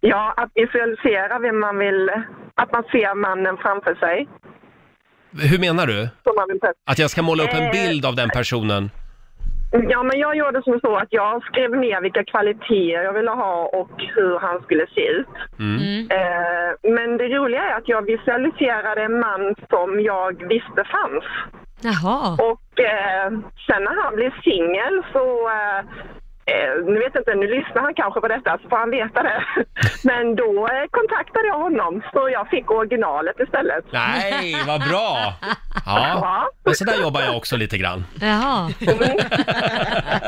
Speaker 5: Ja, att visualisera vem man vill, att man ser mannen framför sig.
Speaker 1: Hur menar du?
Speaker 5: Som man vill träffa.
Speaker 1: Att jag ska måla upp en
Speaker 5: Eh,
Speaker 1: bild av den personen?
Speaker 5: Ja, men jag gjorde som så att jag skrev ner vilka kvaliteter jag ville ha och hur han skulle se ut.
Speaker 1: Mm.
Speaker 5: Eh, men det roliga är att jag visualiserade en man som jag visste fanns.
Speaker 2: Jaha.
Speaker 5: Och eh, sen när han blev singel så eh, eh, nu vet jag inte, nu lyssnar han kanske på detta så får han veta det. Men då eh, kontaktade jag honom så jag fick originalet istället.
Speaker 1: Nej, vad bra! Ja, men så där jobbar jag också lite grann.
Speaker 2: Jaha.
Speaker 5: Mm.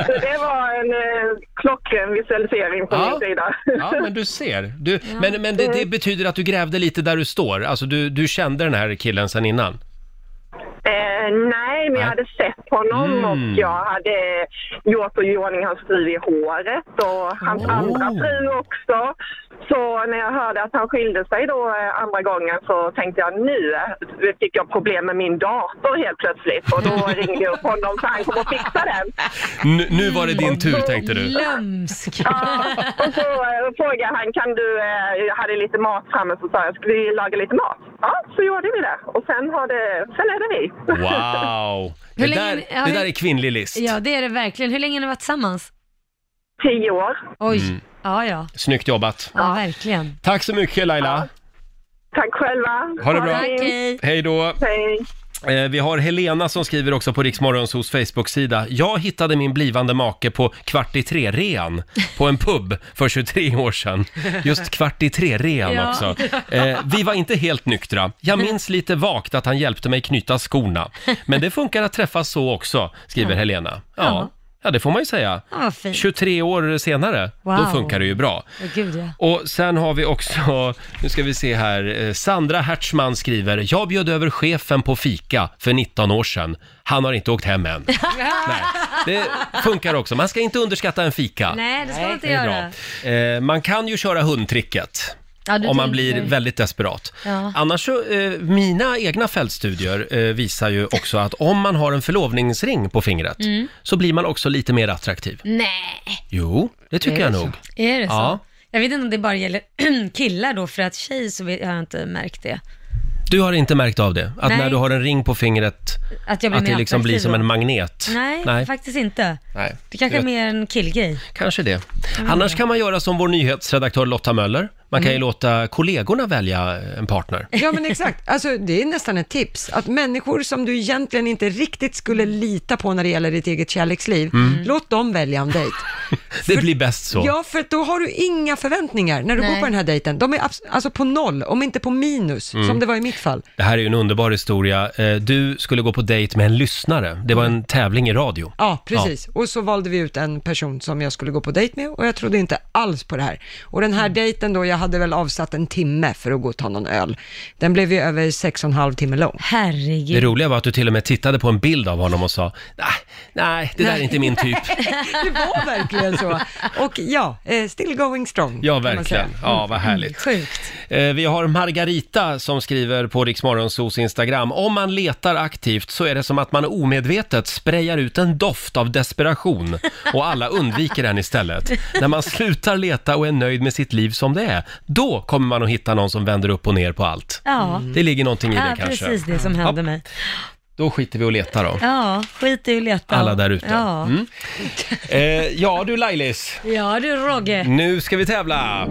Speaker 5: Så det var en eh, klockren visualisering från
Speaker 1: Ja.
Speaker 5: min sida.
Speaker 1: Ja, men du ser. Du, Men, men det,
Speaker 2: Mm.
Speaker 1: det betyder att du grävde lite där du står. Alltså, du, du kände den här killen sen innan.
Speaker 5: Eh, nej, men jag hade sett honom
Speaker 1: Mm.
Speaker 5: och jag hade gjort i ordning hans fru i håret och hans andra fru också. Så när jag hörde att han skilde sig då eh, andra gången så tänkte jag nu eh, fick jag problem med min dator helt plötsligt och då ringde jag upp honom så han kom och fixade den.
Speaker 1: Nu, nu var det
Speaker 2: Mm.
Speaker 1: din tur, tänkte du.
Speaker 2: Lömsk.
Speaker 5: Ja, och så eh, frågade han, kan du, eh, jag hade lite mat framme så sa jag, ska vi laga lite mat? Ja, så gjorde vi det och sen, har det, sen är det vi.
Speaker 1: Wow! Det
Speaker 2: Hur länge-
Speaker 1: där,
Speaker 2: ja,
Speaker 1: det
Speaker 2: hur-
Speaker 1: där är kvinnlig list.
Speaker 2: Ja, det är det verkligen. Hur länge har ni varit tillsammans?
Speaker 5: Tio år.
Speaker 2: Oj.
Speaker 1: Mm.
Speaker 2: Ja, ja.
Speaker 1: Snyggt jobbat.
Speaker 2: Ja, verkligen.
Speaker 1: Tack så mycket Laila.
Speaker 5: Tack själva.
Speaker 1: Ha det bra.
Speaker 2: Tack, hej.
Speaker 1: Hej då.
Speaker 5: Hej.
Speaker 1: Eh, Vi har Helena som skriver också på Riksmorgonsos Facebook-sida. Jag hittade min blivande make på kvart i tre-rean på en pub för 23 år sedan. Just kvart i tre-rean
Speaker 12: Ja.
Speaker 1: också. Eh, Vi var inte helt nyktra. Jag minns lite vagt att han hjälpte mig knyta skorna. Men det funkar att träffas så också, skriver
Speaker 2: Ja.
Speaker 1: Helena. Ja.
Speaker 2: Ja.
Speaker 1: ja, det får man ju säga.
Speaker 2: Ja, vad fint.
Speaker 1: 23 år senare, då
Speaker 2: Wow.
Speaker 1: funkar det ju bra.
Speaker 2: Åh, gud ja.
Speaker 1: Och sen har vi också, nu ska vi se här, eh, Sandra Hertzman skriver, jag bjöd över chefen på fika för 19 år sedan. Han har inte åkt hem än. Nej, det funkar också. Man ska inte underskatta en fika.
Speaker 2: Nej, det ska man inte
Speaker 1: Det är
Speaker 2: göra.
Speaker 1: bra. Eh, man kan ju köra hundtricket.
Speaker 2: Ja, du
Speaker 1: om man
Speaker 2: tänker.
Speaker 1: blir väldigt desperat.
Speaker 2: Ja.
Speaker 1: Annars så, eh, mina egna fältstudier eh, visar ju också att om man har en förlovningsring på fingret
Speaker 2: Mm.
Speaker 1: så blir man också lite mer attraktiv.
Speaker 2: Nej,
Speaker 1: Jo, det tycker
Speaker 2: Är
Speaker 1: jag
Speaker 2: det
Speaker 1: nog.
Speaker 2: är det så?
Speaker 1: Ja.
Speaker 2: Jag vet inte om det bara gäller killar då, för att tjej så vet- har jag inte märkt det.
Speaker 1: Du har inte märkt av det? Att
Speaker 2: Nej.
Speaker 1: när du har en ring på fingret,
Speaker 2: Att jag blir
Speaker 1: att det
Speaker 2: mer
Speaker 1: liksom blir
Speaker 2: attraktiv
Speaker 1: som
Speaker 2: då.
Speaker 1: en magnet?
Speaker 2: Nej,
Speaker 1: Nej.
Speaker 2: faktiskt inte.
Speaker 1: Nej.
Speaker 2: Det kanske är
Speaker 1: Jag-
Speaker 2: mer Mm. en killgrej.
Speaker 1: Kanske det. Annars kan man göra som vår nyhetsredaktör Lotta Möller. Man
Speaker 2: Mm.
Speaker 1: kan ju låta kollegorna välja eh, en partner.
Speaker 3: Ja men exakt, alltså, det är nästan ett tips. Att människor som du egentligen inte riktigt skulle lita på när det gäller ditt eget kärleksliv,
Speaker 1: Mm.
Speaker 3: låt dem välja en dejt.
Speaker 1: Det blir bäst så.
Speaker 3: Ja, för att då har du inga förväntningar när du
Speaker 2: Nej.
Speaker 3: går på den här dejten. De är abs- alltså på noll, om inte på minus,
Speaker 1: Mm.
Speaker 3: som det var i mitt fall.
Speaker 1: Det här är ju en underbar historia. Eh, Du skulle gå på dejt med en lyssnare. Det var
Speaker 2: Mm.
Speaker 1: en tävling i radio.
Speaker 3: Ja, precis. Och så valde vi ut en person som jag skulle gå på dejt med och jag trodde inte alls på det här. Och den
Speaker 2: Mm.
Speaker 3: här dejten då, jag hade väl avsatt en timme för att gå och ta någon öl. Den blev ju över sex och en halv timme lång.
Speaker 1: Det
Speaker 2: Herregud.
Speaker 1: roliga var att du till och med tittade på en bild av honom och sa "Nej, Nej, det där är inte min typ.
Speaker 3: det var verkligen så. Och ja, eh, still going strong.
Speaker 1: Ja,
Speaker 3: kan man
Speaker 1: verkligen.
Speaker 3: säga.
Speaker 1: Ja, vad härligt.
Speaker 2: Mm. Sjukt.
Speaker 1: Eh, Vi har Margarita som skriver på Riksmorgonsos Instagram. Om man letar aktivt så är det som att man omedvetet sprayar ut en doft av desperation och alla undviker den istället. När man slutar leta och är nöjd med sitt liv som det är, då kommer man att hitta någon som vänder upp och ner på allt.
Speaker 2: Ja.
Speaker 1: Det ligger någonting i det
Speaker 2: ja,
Speaker 1: kanske.
Speaker 2: precis det som hände mig.
Speaker 1: Då skiter vi och letar då.
Speaker 2: Ja, skit i att leta.
Speaker 1: Alla där ute.
Speaker 2: Ja.
Speaker 1: Mm. Eh, ja du Lailis,
Speaker 2: ja, du Rogge.
Speaker 1: nu ska vi tävla!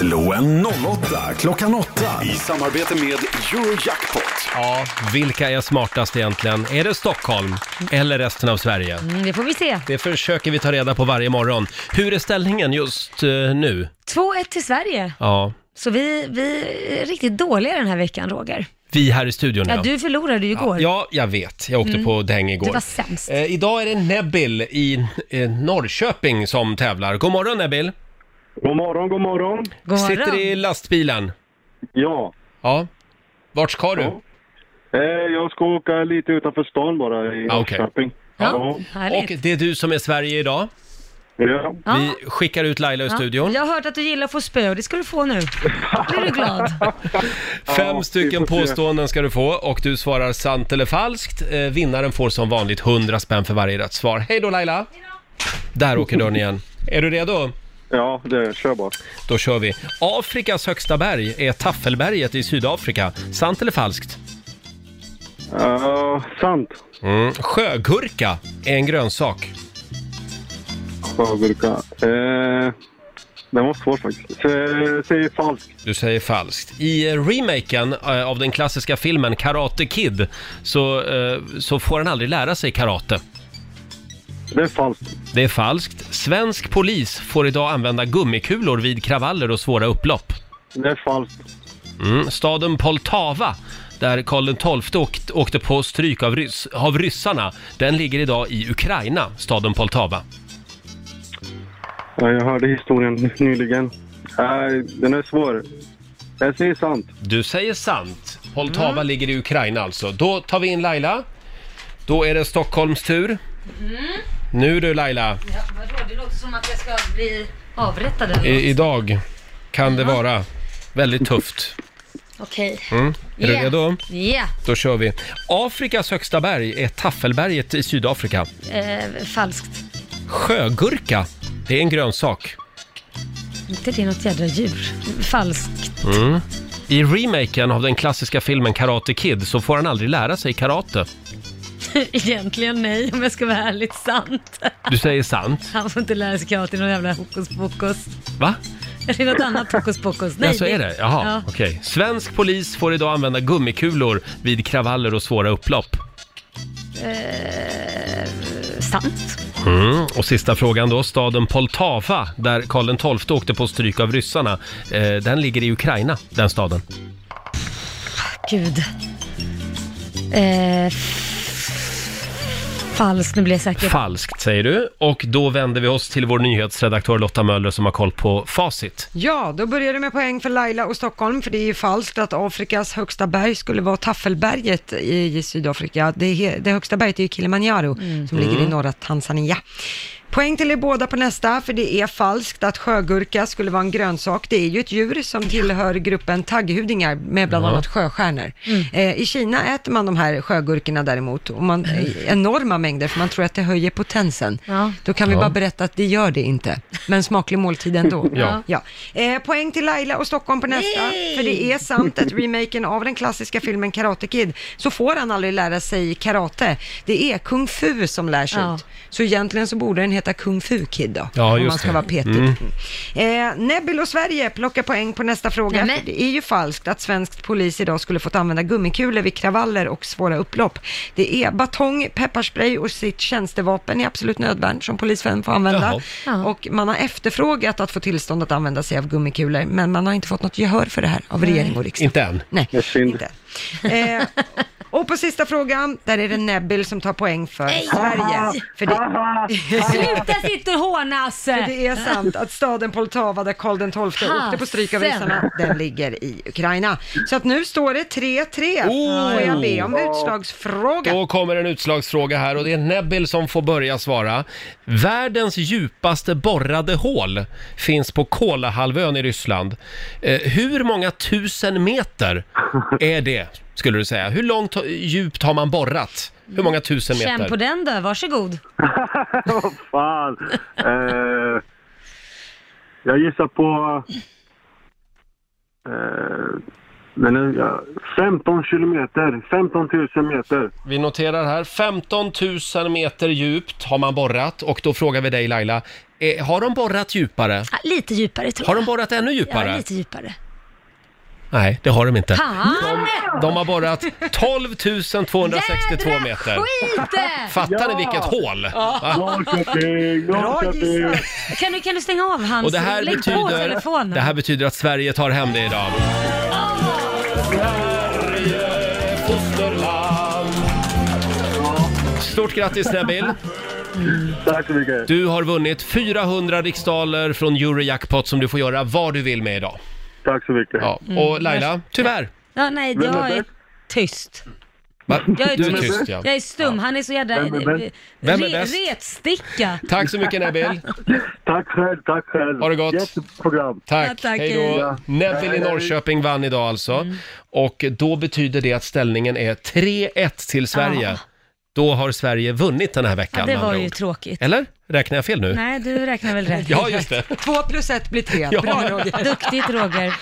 Speaker 4: Slå en 08 klockan 8 i samarbete med Eurojackpot.
Speaker 1: Ja, vilka är smartast egentligen? Är det Stockholm eller resten av Sverige?
Speaker 2: Mm, det får vi se.
Speaker 1: Det försöker vi ta reda på varje morgon. Hur är ställningen just eh, nu?
Speaker 2: 2-1 till Sverige.
Speaker 1: Ja,
Speaker 2: Så vi, vi är riktigt dåliga den här veckan, Roger.
Speaker 1: vi här i studion
Speaker 2: Ja, du förlorade ju igår.
Speaker 1: Ja, jag vet. Jag åkte
Speaker 2: Mm.
Speaker 1: på däng igår.
Speaker 2: Det var sämst.
Speaker 1: Eh, idag är det Nebil i eh, Norrköping som tävlar. God morgon Nebil!
Speaker 12: God morgon, god morgon!
Speaker 2: God
Speaker 1: Sitter
Speaker 12: morgon.
Speaker 1: i lastbilen?
Speaker 12: Ja.
Speaker 1: Ja. Vart ska du?
Speaker 12: Eh, jag ska åka lite utanför stan bara i
Speaker 1: Ah, okej.
Speaker 12: Norrköping.
Speaker 1: Ja. Och det är du som är Sverige idag.
Speaker 12: Ja.
Speaker 1: Vi skickar ut Laila ur
Speaker 2: Ja.
Speaker 1: eh, studion.
Speaker 2: Jag har hört att du gillar att få spö och det ska du få nu. Blir du glad?
Speaker 1: Fem stycken
Speaker 12: vi får se.
Speaker 1: påståenden ska du få och du svarar sant eller falskt. Eh, vinnaren får som vanligt 100 spänn för varje rätt svar. Hej då Laila! Där åker dörren igen. Är du redo?
Speaker 12: Ja, det kör bara.
Speaker 1: Då kör vi. Afrikas högsta berg är Taffelberget i Sydafrika. Sant eller falskt?
Speaker 12: Eh, sant.
Speaker 1: Mm. Sjögurka är en grönsak.
Speaker 12: Sjögurka. Eh, det var svårt faktiskt. Eh, Säger falskt.
Speaker 1: Du säger falskt. I eh, remaken eh, av den klassiska filmen Karate Kid så, eh, så får han aldrig lära sig karate.
Speaker 12: Det är falskt.
Speaker 1: Det är falskt. Svensk polis får idag använda gummikulor vid kravaller och svåra upplopp.
Speaker 12: Det är falskt.
Speaker 1: Mm. Staden Poltava, där Karl XII åkte, åkte på stryk av, rys, av ryssarna, den ligger idag i Ukraina, staden Poltava.
Speaker 12: Eh, Jag hörde historien nyligen. Eh, den är svår. Jag säger sant.
Speaker 1: Du säger sant. Poltava ligger i Ukraina alltså. Då tar vi in Laila. Då är det Stockholms tur. Nu du Laila,
Speaker 2: Mm. Ja, vadå? Det låter som att jag ska bli avrättad
Speaker 1: I, idag kan det vara väldigt tufft.
Speaker 2: Okej.
Speaker 1: Mm. Är du
Speaker 2: Yeah.
Speaker 1: redo?
Speaker 2: Ja.
Speaker 1: Då kör vi. Afrikas högsta berg är Taffelberget i Sydafrika.
Speaker 2: Eh, falskt.
Speaker 1: Sjögurka, det är en grönsak.
Speaker 2: Inte det är något jädra djur. Falskt.
Speaker 1: Mm. I remaken av den klassiska filmen Karate Kid så får han aldrig lära sig karate.
Speaker 2: Egentligen nej, om jag ska vara ärligt sant.
Speaker 1: Du säger sant.
Speaker 2: Han får inte lära sig karate i någon jävla hokus pokus.
Speaker 1: Va?
Speaker 2: Eller i något annat hokus pokus. Nej,
Speaker 1: ja, så är det? Jaha,
Speaker 2: Ja.
Speaker 1: okej. Svensk polis får idag använda gummikulor vid kravaller och svåra upplopp.
Speaker 2: Eh, sant.
Speaker 1: Mm. Och sista frågan då. Staden Poltava, där Karl XII åkte på stryk av ryssarna, eh, den ligger i Ukraina, den staden.
Speaker 2: Gud. Eh, falskt, nu blir jag säker.
Speaker 1: Falskt, säger du. Och då vänder vi oss till vår nyhetsredaktör Lotta Möller som har koll på facit.
Speaker 3: Ja, då börjar det med poäng för Laila och Stockholm, för det är ju falskt att Afrikas högsta berg skulle vara Taffelberget i, i Sydafrika. Det, he- det högsta berget är ju Kilimanjaro, som
Speaker 13: Mm.
Speaker 3: ligger i norra Tanzania. Poäng till er båda på nästa, för det är falskt att sjögurka skulle vara en grönsak. Det är ju ett djur som tillhör gruppen tagghudingar med bland
Speaker 13: Ja. Mm.
Speaker 3: annat sjöstjärnor. Eh, I Kina äter man de här sjögurkorna däremot, och man, i enorma mängder, för man tror att det höjer potensen. Då kan vi
Speaker 13: Ja.
Speaker 3: bara berätta att det gör det inte, men smaklig måltid ändå.
Speaker 13: Ja.
Speaker 3: Ja. Eh, poäng till Laila och Stockholm på nästa, för det är sant att remaken av den klassiska filmen Karate Kid, så får han aldrig lära sig karate. Det är kung fu som lärs
Speaker 13: Ja.
Speaker 3: ut. Så egentligen så borde den heta Kung Fu Kid då,
Speaker 13: Ja,
Speaker 3: om
Speaker 13: just
Speaker 3: man ska
Speaker 13: det.
Speaker 3: vara petig.
Speaker 13: Mm.
Speaker 3: Eh, Nebbil och Sverige plockar poäng på nästa fråga.
Speaker 13: Nämen.
Speaker 3: för Det är ju falskt att svensk polis idag skulle fått använda gummikulor vid kravaller och svåra upplopp. Det är batong, pepparspray och sitt tjänstevapen i absolut nödvärn som polisen får använda.
Speaker 13: Jaha.
Speaker 3: Och man har efterfrågat att få tillstånd att använda sig av gummikulor, men man har inte fått något gehör för det här av regering och riksdag.
Speaker 1: Inte än.
Speaker 3: Nej,
Speaker 12: inte.
Speaker 3: Eh, och på sista frågan, där är det Nebbil som tar poäng för Sverige. För det...
Speaker 2: Sluta sitta och hånas!
Speaker 3: För det är sant att staden Poltava där Karl XII åkte på stryk av
Speaker 2: Fasen.
Speaker 3: ryssarna, den ligger i Ukraina. Så att nu står det 3-3.
Speaker 1: Oh.
Speaker 3: Får jag be om utslagsfråga?
Speaker 1: Då kommer en utslagsfråga här och det är Nebbil som får börja svara. Världens djupaste borrade hål finns på Kolahalvön i Ryssland. Eh, hur många tusen meter är det, skulle du säga? Hur långt ha- djupt har man borrat? Hur många tusen
Speaker 2: Känn på
Speaker 1: meter?
Speaker 2: den då, varsågod.
Speaker 12: Vad fan. Eh, jag gissar på... Eh, den är, ja, 15 kilometer. 15 000 meter.
Speaker 1: Vi noterar här, 15 000 meter djupt har man borrat och då frågar vi dig Laila, Eh, Har de borrat djupare?
Speaker 2: Ja, lite djupare tror jag.
Speaker 1: Har de borrat ännu djupare?
Speaker 2: Ja, lite djupare.
Speaker 1: Nej, det har de inte.
Speaker 2: Fan!
Speaker 1: De har borrat 12 262 meter.
Speaker 2: Skit!
Speaker 1: Fattar ni vilket hål? Va?
Speaker 2: Bra gissat! Kan du, kan du stänga av hans...
Speaker 1: Och det här,
Speaker 2: Lägg på
Speaker 1: betyder,
Speaker 2: telefonen.
Speaker 1: det här betyder att Sverige tar hem det idag. Stort grattis Nabil!
Speaker 12: Tack så mycket.
Speaker 1: Du har vunnit 400 riksdaler från Eurojackpot som du får göra vad du vill med idag.
Speaker 12: Tack så mycket.
Speaker 1: Ja.
Speaker 2: Mm.
Speaker 1: Och Laila, tyvärr.
Speaker 2: Ja, nej,
Speaker 1: Vem är
Speaker 2: jag är
Speaker 1: bäst?
Speaker 2: tyst.
Speaker 1: Va?
Speaker 2: Jag är
Speaker 1: Du är
Speaker 2: tyst.
Speaker 1: tyst, ja.
Speaker 2: Jag är stum. Han är så jävla... eh,
Speaker 1: Vem är bäst? Vem är
Speaker 2: Re-
Speaker 1: bäst?
Speaker 2: Retsticka.
Speaker 1: Tack så mycket Nabil.
Speaker 12: Tack själv, tack själv.
Speaker 1: Ha det gott.
Speaker 12: Jätteprogram.
Speaker 1: Tack.
Speaker 2: Ja, tack. Mm.
Speaker 1: Hej då.
Speaker 2: Ja.
Speaker 1: Neville i
Speaker 12: Hej, hej.
Speaker 1: Norrköping vann idag alltså. Och då betyder det att ställningen är 3-1 till Sverige.
Speaker 2: Ja.
Speaker 1: Då har Sverige vunnit den här veckan
Speaker 2: Ja, det
Speaker 1: med
Speaker 2: var
Speaker 1: andra
Speaker 2: ju
Speaker 1: ord.
Speaker 2: tråkigt.
Speaker 1: Eller? Räknar jag fel nu?
Speaker 2: Nej, du räknar väl rätt?
Speaker 1: Ja, just det.
Speaker 3: Två plus ett blir tre.
Speaker 1: Ja.
Speaker 3: Bra Roger.
Speaker 2: Duktigt Roger.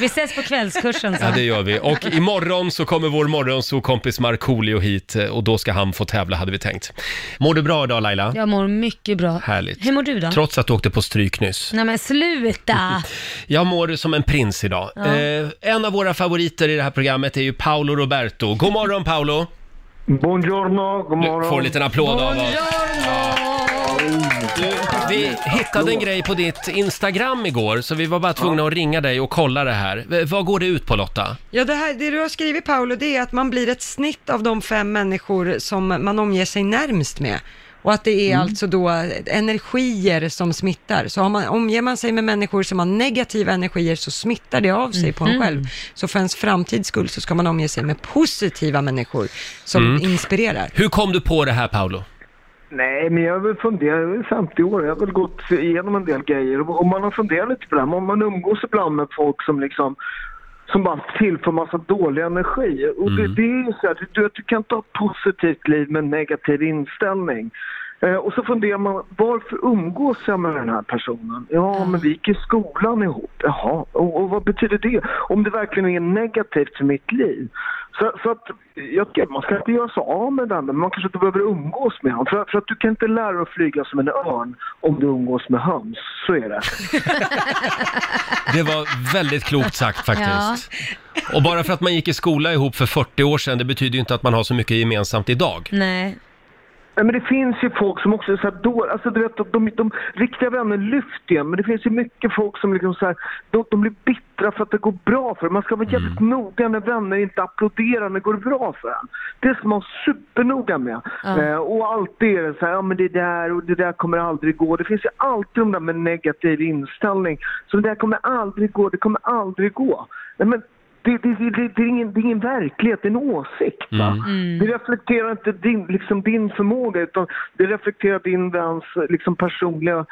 Speaker 2: Vi ses på kvällskursen
Speaker 1: Ja,
Speaker 2: sen.
Speaker 1: det gör vi. Och imorgon så kommer vår morgonsokompis Markoolio hit eh, och då ska han få tävla, hade vi tänkt. Mår du bra idag Laila?
Speaker 2: Jag mår mycket bra.
Speaker 1: Härligt.
Speaker 2: Hur mår du då?
Speaker 1: Trots att du åkte på stryk nyss.
Speaker 2: Nej men sluta!
Speaker 1: Jag mår som en prins idag.
Speaker 2: Ja.
Speaker 1: Eh, en av våra favoriter i det här programmet är ju Paolo Roberto. God morgon Paolo!
Speaker 12: Buongiorno, god morgon.
Speaker 1: Du får en liten applåd av oss. Du, vi hittade en grej på ditt Instagram igår, så vi var bara tvungna att ringa dig och kolla det här. V- vad går det ut på Lotta?
Speaker 3: Ja, det, här, det du har skrivit Paolo, det är att man blir ett snitt av de fem människor som man omger sig närmst med. Och att det är
Speaker 2: Mm.
Speaker 3: alltså då energier som smittar. Så har man, omger man sig med människor som har negativa energier så smittar det av sig på en
Speaker 2: Mhm.
Speaker 3: själv. Så för ens framtids skull så ska man omge sig med positiva människor som
Speaker 1: Mm.
Speaker 3: inspirerar.
Speaker 1: Hur kom du på det här Paolo?
Speaker 12: Nej, men jag har väl funderat, jag är väl 50 år, jag har väl gått igenom en del grejer. Och man har funderat lite på det här, men om man umgås ibland med folk som liksom som bara tillför massa dålig energi. Och det, det är ju så här, du, du kan inte ha ett positivt liv med en negativ inställning. Eh, och så funderar man, varför umgås jag med den här personen? Ja, men vi gick i skolan ihop. Jaha, och, och vad betyder det? Om det verkligen är negativt för mitt liv. Så, så att, jag tycker att man ska inte göra sig av med den, men man kanske inte behöver umgås med honom. För, för att du kan inte lära dig att flyga som en örn om du umgås med höns. Så är det.
Speaker 1: Det var väldigt klokt sagt faktiskt. Och bara för att man gick i skola ihop för 40 år sedan, det betyder ju inte att man har så mycket gemensamt idag.
Speaker 2: Nej.
Speaker 12: Nej, men det finns ju folk som också är så här då, alltså du vet att de, de riktiga vänner lyfter ju, men det finns ju mycket folk som liksom så här, de, de blir bittra för att det går bra för dem. Man ska vara jävligt noga när vänner inte applåderar när det går bra för en. Det ska man vara supernoga med.
Speaker 13: Ja.
Speaker 12: Eh, och alltid är det så här, ja men det där och det där kommer aldrig gå. Det finns ju alltid de där med negativ inställning. Så det där kommer aldrig gå, det kommer aldrig gå. Nej, men det, det, det, det, det, är ingen, det är ingen verklighet, det är en åsikt. Va? Det reflekterar inte din, liksom din förmåga utan det reflekterar din väns liksom, personliga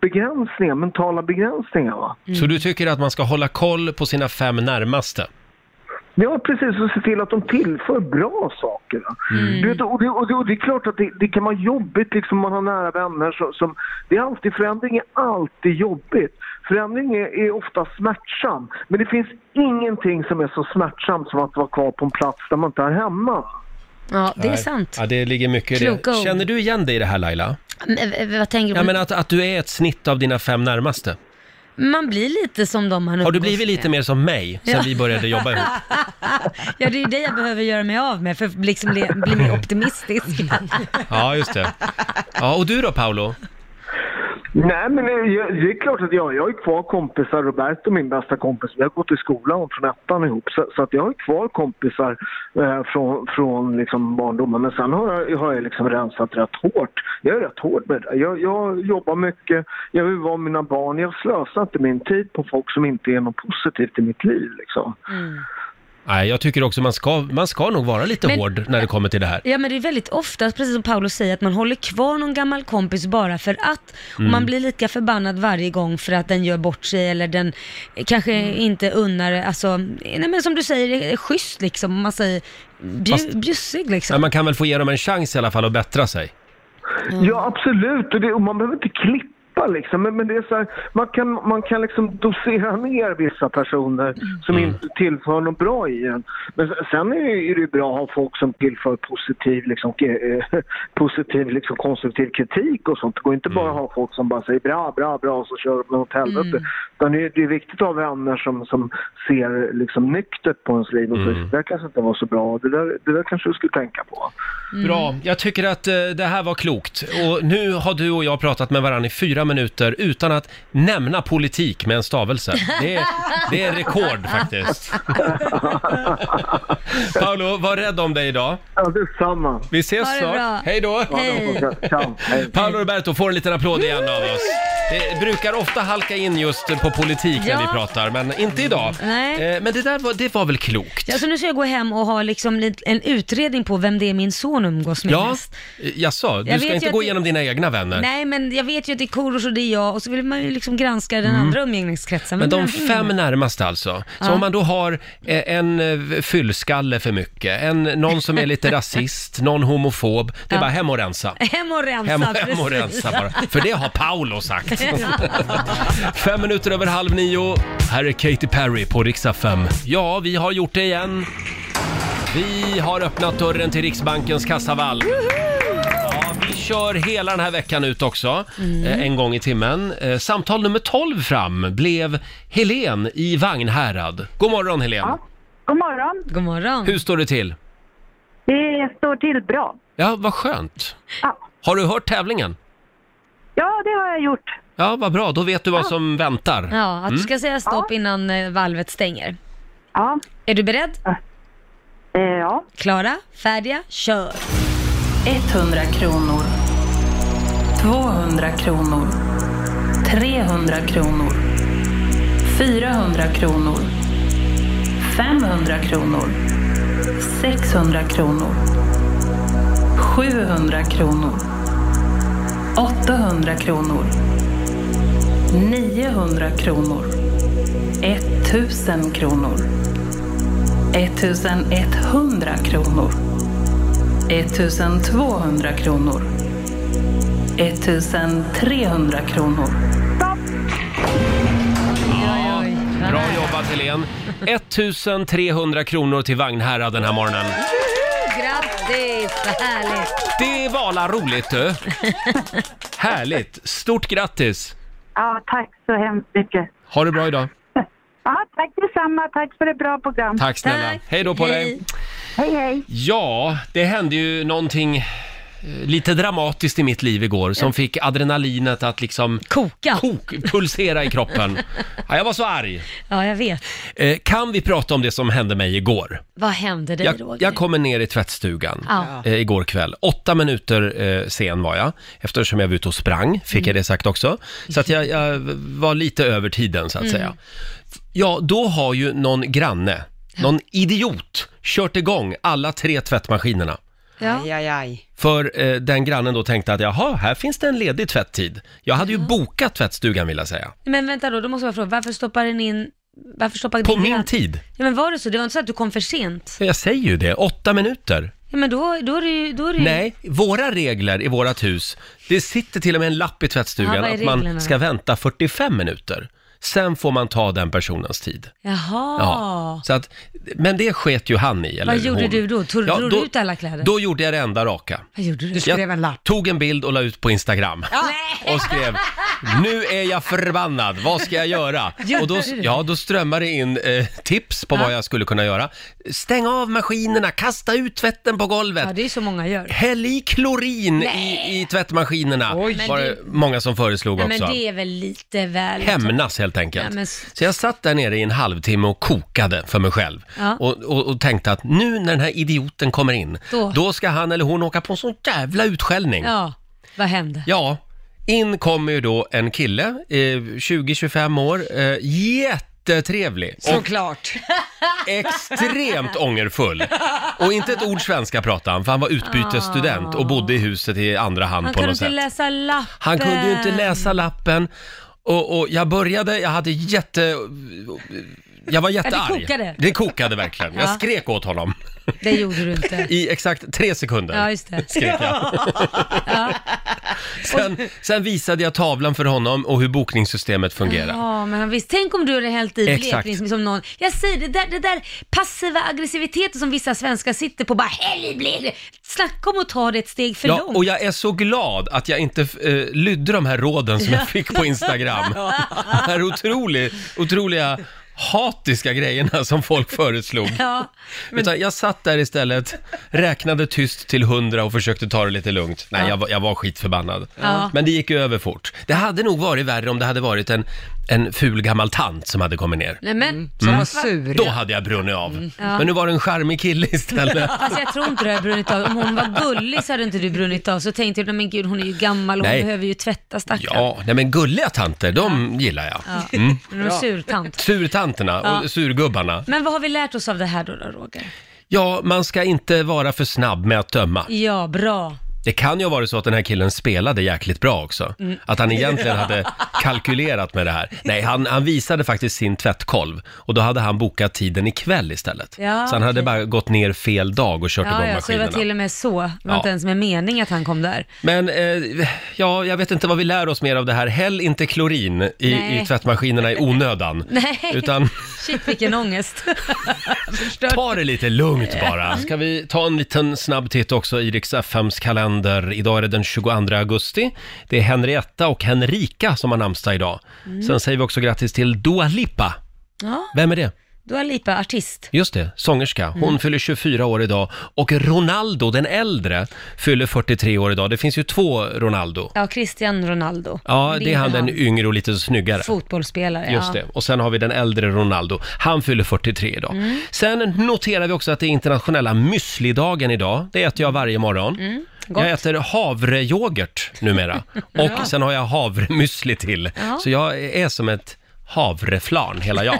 Speaker 12: begränsningar, mentala begränsningar. Va?
Speaker 1: Så du tycker att man ska hålla koll på sina fem närmaste?
Speaker 12: Ja, precis. Och se till att de tillför bra saker. va? Du vet, och, det, och, det, och det är klart att det, det kan vara jobbigt liksom, om man har nära vänner som... som det är alltid, förändring är alltid jobbigt. Förändring är, är ofta smärtsam. Men det finns ingenting som är så smärtsamt som att vara kvar på en plats där man inte är hemma.
Speaker 2: Ja, det är
Speaker 1: Nej.
Speaker 2: sant.
Speaker 1: Ja, det ligger mycket i
Speaker 2: Kloka
Speaker 1: det.
Speaker 2: ord.
Speaker 1: Känner du igen dig i det här Laila?
Speaker 2: Men, eh, vad tänker du?
Speaker 1: Ja, men att, att du är ett snitt av dina fem närmaste.
Speaker 2: Man blir lite som de man
Speaker 1: Har du
Speaker 2: umgås
Speaker 1: blivit lite
Speaker 2: med.
Speaker 1: mer som mig sen
Speaker 2: Ja.
Speaker 1: vi började jobba ihop?
Speaker 2: Ja, det är ju det jag behöver göra mig av med för att liksom bli, bli mer optimistisk.
Speaker 1: Ja, just det. Ja, och du då Paolo?
Speaker 12: Nej, men det, jag- det är klart att jag, jag har ju kvar kompisar. Roberto, min bästa kompis, vi har gått i skolan från ettan ihop. Så, så att jag har ju kvar kompisar eh, från, från liksom barndomen. Men sen har jag, har jag liksom rensat rätt hårt. Jag är rätt hård med det. Jag, jag jobbar mycket, jag vill vara mina barn. Jag slösar inte min tid på folk som inte är något positivt i mitt liv. Liksom.
Speaker 2: Mm.
Speaker 1: Nej, jag tycker också man ska, man ska nog vara lite
Speaker 2: Men-
Speaker 1: hård när det kommer till det här.
Speaker 2: Ja men det är väldigt ofta, precis som Paolo säger, att man håller kvar någon gammal kompis bara för att. Och
Speaker 1: Mm.
Speaker 2: man blir lika förbannad varje gång för att den gör bort sig eller den kanske
Speaker 1: Mm.
Speaker 2: inte unnar, alltså, nej men som du säger, är schysst liksom. Man säger bju-
Speaker 1: Fast-
Speaker 2: bjussig liksom.
Speaker 1: Men man kan väl få ge dem en chans i alla fall att bättra sig?
Speaker 12: Ja, absolut. Och, det, och man behöver inte klippa släppa liksom. Men, men det är så här, man kan, man kan liksom dosera ner vissa personer som inte tillför något bra i en. Men s- sen är det, ju- är det ju bra att ha folk som tillför positiv, liksom, ke- eh, positiv liksom, konstruktiv kritik och sånt. Det går inte bara att ha folk som bara säger bra, bra, bra och så kör de åt helvete.
Speaker 13: Mm.
Speaker 12: Utan det är, det är viktigt att ha vänner som, som ser liksom, nyktert på ens liv och säger det där kanske inte var så bra, det där, det där kanske du skulle tänka på.
Speaker 2: Mm.
Speaker 1: Bra, jag tycker att eh, det här var klokt. Och nu har du och jag pratat med varandra i fyra minuter utan att nämna politik med en stavelse. Det är, det är rekord faktiskt. Paolo, var rädd om dig idag.
Speaker 12: Ja, detsamma.
Speaker 1: Vi ses
Speaker 12: Ha det bra.
Speaker 1: snart. Hej då!
Speaker 12: Hej.
Speaker 1: Paolo Roberto får en liten applåd igen av oss. Det brukar ofta halka in just på politik när
Speaker 2: Ja.
Speaker 1: vi pratar, men inte idag.
Speaker 2: Nej.
Speaker 1: Eh, Men det där var, det var väl klokt?
Speaker 2: Ja, så nu ska jag gå hem och ha liksom lit- en utredning på vem det är min son umgås med
Speaker 1: Ja,
Speaker 2: mest.
Speaker 1: jaså, du
Speaker 2: Jag
Speaker 1: ska
Speaker 2: vet ju
Speaker 1: inte
Speaker 2: att
Speaker 1: gå
Speaker 2: det-
Speaker 1: igenom dina egna vänner?
Speaker 2: Nej, men jag vet ju att det är Korosh och det är jag och så vill man ju liksom granska den
Speaker 1: Mm.
Speaker 2: andra umgängeskretsen.
Speaker 1: Men de
Speaker 2: den-
Speaker 1: fem närmaste alltså. Så
Speaker 2: Ja.
Speaker 1: om man då har eh, en eh, fyllskalle för mycket, en, någon som är lite rasist, någon homofob. Det är
Speaker 2: Ja.
Speaker 1: bara hem och rensa.
Speaker 2: Hem och rensa,
Speaker 1: Hem, hem
Speaker 2: precis.
Speaker 1: och rensa bara. För det har Paolo sagt.
Speaker 2: Ja.
Speaker 1: Fem minuter över halv nio. Här är Katy Perry på riksdag 5. Ja, vi har gjort det igen. Vi har öppnat dörren till Riksbankens kassavalv. Ja, vi kör hela den här veckan ut också,
Speaker 9: Mm.
Speaker 1: eh, en gång i timmen. Eh, Samtal nummer 12 fram blev Helen i Vagnhärad. God morgon Helen!
Speaker 14: Ja. God morgon.
Speaker 2: God morgon.
Speaker 1: Hur står det till?
Speaker 14: Det står till bra.
Speaker 1: Ja, vad skönt!
Speaker 14: Ja.
Speaker 1: Har du hört tävlingen?
Speaker 14: Ja, det har jag gjort.
Speaker 1: Ja, vad bra. Då vet du vad som väntar.
Speaker 2: Ja, att du
Speaker 1: Mm.
Speaker 2: ska säga stopp innan eh, valvet stänger. Ja. Eh, Är du beredd?
Speaker 14: Ja.
Speaker 2: Klara, färdiga, kör.
Speaker 6: 100 kronor. 200 kronor. 300 kronor. 400 kronor. 500 kronor. 600 kronor. 700 kronor. 800 kronor. 900 kronor. 1000 kronor. 1100 kronor. 1200 kronor. 1300 kronor.
Speaker 1: Ja, bra jobbat Helen. 1300 kronor till Vagnhärad den här morgonen.
Speaker 2: Grattis, vad härligt.
Speaker 1: Det var la roligt du! Härligt! Stort grattis!
Speaker 14: Ja, tack så hemskt mycket.
Speaker 1: Ha det bra idag.
Speaker 14: Ja, tack detsamma. Tack för ett bra program.
Speaker 1: Tack snälla. Hej då på dig.
Speaker 14: Hej, hej.
Speaker 1: Ja, det hände ju någonting eh, lite dramatiskt i mitt liv igår som fick adrenalinet att liksom
Speaker 2: koka,
Speaker 1: kok, pulsera i kroppen. Ja, jag var så arg.
Speaker 2: Ja, jag vet.
Speaker 1: Eh, kan vi prata om det som hände mig igår?
Speaker 2: Vad hände dig,
Speaker 1: Jag,
Speaker 2: Roger?
Speaker 1: jag kommer ner i tvättstugan
Speaker 2: Ja.
Speaker 1: eh, igår kväll. Åtta minuter eh, sen var jag, eftersom jag var ute och sprang, fick
Speaker 2: Mm.
Speaker 1: jag det sagt också. Så att jag, jag var lite över tiden, så att
Speaker 9: Mm.
Speaker 1: säga. Ja, då har ju någon granne, någon idiot, kört igång alla tre tvättmaskinerna.
Speaker 3: Ja. Aj, aj, aj.
Speaker 1: För eh, den grannen då tänkte att jaha, här finns det en ledig tvätttid. Jag hade ju bokat tvättstugan vill jag säga.
Speaker 2: Men vänta då, då måste jag fråga, varför stoppar den in... Varför stoppar
Speaker 1: På
Speaker 2: den in-
Speaker 1: min tid.
Speaker 2: Ja, men var det så? Det var inte så att du kom för sent?
Speaker 1: Jag säger ju det, åtta minuter.
Speaker 2: Ja, men då, då är det ju... Då är det ju...
Speaker 1: Nej, våra regler i vårt hus, det sitter till och med en lapp i
Speaker 2: Ja,
Speaker 1: tvättstugan
Speaker 2: vad är
Speaker 1: att man
Speaker 2: reglerna?
Speaker 1: ska vänta 45 minuter. Sen får man ta den personens tid.
Speaker 2: Jaha.
Speaker 1: Ja, så att, men det sket ju han i. Eller
Speaker 2: Vad gjorde
Speaker 1: hon.
Speaker 2: du då? Tog
Speaker 1: Ja,
Speaker 2: drog du
Speaker 1: då-
Speaker 2: ut alla kläder?
Speaker 1: Då gjorde jag det enda raka.
Speaker 2: Vad gjorde du?
Speaker 1: jag tog en bild och la ut på Instagram. Och skrev, nu är jag förbannad, vad ska jag göra?
Speaker 9: Gjorde
Speaker 1: Och då,
Speaker 9: du det?
Speaker 1: ja, då strömmade det in eh, tips på vad jag skulle kunna göra. Stäng av maskinerna, kasta ut tvätten på golvet.
Speaker 2: Ja, det är så många gör.
Speaker 1: Häll i klorin i, i tvättmaskinerna,
Speaker 2: Men
Speaker 1: var
Speaker 2: det-
Speaker 1: det många som föreslog
Speaker 2: Nej,
Speaker 1: också.
Speaker 2: men det är väl lite väl...
Speaker 1: Hämnas helt enkelt.
Speaker 2: Ja, men s-
Speaker 1: Så jag satt där nere i en halvtimme och kokade för mig själv.
Speaker 2: Ja.
Speaker 1: Och, och, och tänkte att nu när den här idioten kommer in,
Speaker 2: Då.
Speaker 1: då, ska han eller hon åka på en sån jävla utskällning.
Speaker 2: Ja, vad hände?
Speaker 1: Ja, in kommer ju då en kille, eh, 20-25 år, eh, jättetrevlig. Och
Speaker 3: Såklart.
Speaker 1: extremt ångerfull. Och inte ett ord svenska pratade han, för han var utbytesstudent och bodde i huset i andra hand
Speaker 2: Han
Speaker 1: på
Speaker 2: kunde
Speaker 1: något
Speaker 2: inte
Speaker 1: sätt.
Speaker 2: läsa lappen.
Speaker 1: Han kunde ju inte läsa lappen. Och, och jag började, jag hade jätte... Jag var jättearg.
Speaker 2: kokade.
Speaker 1: Det kokade verkligen. Jag
Speaker 2: Ja.
Speaker 1: skrek åt honom.
Speaker 2: Det gjorde du inte.
Speaker 1: I exakt tre sekunder
Speaker 2: Ja, just det.
Speaker 1: skrek jag.
Speaker 2: Ja.
Speaker 1: Sen, sen visade jag tavlan för honom och hur bokningssystemet fungerar.
Speaker 2: Ja, men han visst. Tänk om du hade hällt i
Speaker 1: Exakt.
Speaker 2: blekning som någon. Jag säger det där, det där passiva aggressiviteten som vissa svenskar sitter på, bara häll i blekning. Snacka om att ta det ett steg för
Speaker 1: Ja,
Speaker 2: långt.
Speaker 1: och jag är så glad att jag inte eh, lydde de här råden som
Speaker 2: Ja.
Speaker 1: jag fick på Instagram. De här otrolig, otroliga hatiska grejerna som folk föreslog.
Speaker 2: Ja,
Speaker 1: Utan jag satt där istället, räknade tyst till hundra och försökte ta det lite lugnt. Nej,
Speaker 2: Ja.
Speaker 1: jag, var- jag var skitförbannad.
Speaker 2: Ja.
Speaker 1: Men det gick ju över fort. Det hade nog varit värre om det hade varit en, en ful gammal tant som hade kommit ner.
Speaker 2: nej men.
Speaker 1: Mm. Då
Speaker 2: ja. Mm.
Speaker 1: hade jag brunnit av.
Speaker 2: Ja.
Speaker 1: Men nu var det en charmig kille istället.
Speaker 2: Fast Alltså, jag tror inte du har brunnit av. Om hon var gullig så hade inte du brunnit av. Så tänkte jag, men gud hon är ju gammal och hon
Speaker 1: Nej.
Speaker 2: behöver ju tvätta stackarn.
Speaker 1: Ja, nej men gulliga tanter, de gillar jag.
Speaker 2: Ja.
Speaker 1: Mm.
Speaker 2: Men hon är surtant.
Speaker 1: Surtanterna och
Speaker 2: Ja.
Speaker 1: surgubbarna.
Speaker 2: Men vad har vi lärt oss av det här då, då Roger?
Speaker 1: Ja, man ska inte vara för snabb med att döma.
Speaker 2: Ja, bra.
Speaker 1: Det kan ju ha varit så att den här killen spelade jäkligt bra också.
Speaker 2: Mm.
Speaker 1: Att han egentligen hade kalkylerat med det här. Nej, han, han visade faktiskt sin tvättkolv och då hade han bokat tiden ikväll istället.
Speaker 2: Ja,
Speaker 1: så han hade
Speaker 2: okej.
Speaker 1: bara gått ner fel dag och kört
Speaker 2: Ja,
Speaker 1: igång
Speaker 2: ja, så det var
Speaker 1: maskinerna.
Speaker 2: till och med så. Det var
Speaker 1: Ja.
Speaker 2: inte ens med mening att han kom där.
Speaker 1: Men eh, ja, jag vet inte vad vi lär oss mer av det här. Häll inte klorin i,
Speaker 2: Nej.
Speaker 1: i tvättmaskinerna i onödan.
Speaker 2: Nej,
Speaker 1: Utan
Speaker 2: shit vilken ångest.
Speaker 1: ta det lite lugnt bara. Ska vi ta en liten snabb titt också i Rix FMs kalender. Idag är det den 22 augusti. Det är Henrietta och Henrika som har namnsdag idag.
Speaker 2: Mm.
Speaker 1: Sen säger vi också grattis till Dua Lipa.
Speaker 2: Ja,
Speaker 1: Vem är det?
Speaker 2: Dua Lipa, artist.
Speaker 1: Just det, sångerska. Hon
Speaker 2: Mm.
Speaker 1: fyller 24 år idag och Ronaldo den äldre fyller 43 år idag. Det finns ju två Ronaldo.
Speaker 2: Ja, Cristiano Ronaldo.
Speaker 1: Ja,
Speaker 2: Men
Speaker 1: det är han den yngre och lite snyggare.
Speaker 2: Fotbollsspelare,
Speaker 1: Just
Speaker 2: ja.
Speaker 1: det. Och sen har vi den äldre Ronaldo. Han fyller 43 idag.
Speaker 2: Mm.
Speaker 1: Sen noterar vi också att det är internationella müslidagen idag. Det äter jag varje morgon.
Speaker 2: Mm, gott.
Speaker 1: Jag äter havrejoghurt numera.
Speaker 2: Ja.
Speaker 1: Och sen har jag havremüsli till.
Speaker 2: Ja.
Speaker 1: Så jag är som ett havreflan, hela jag.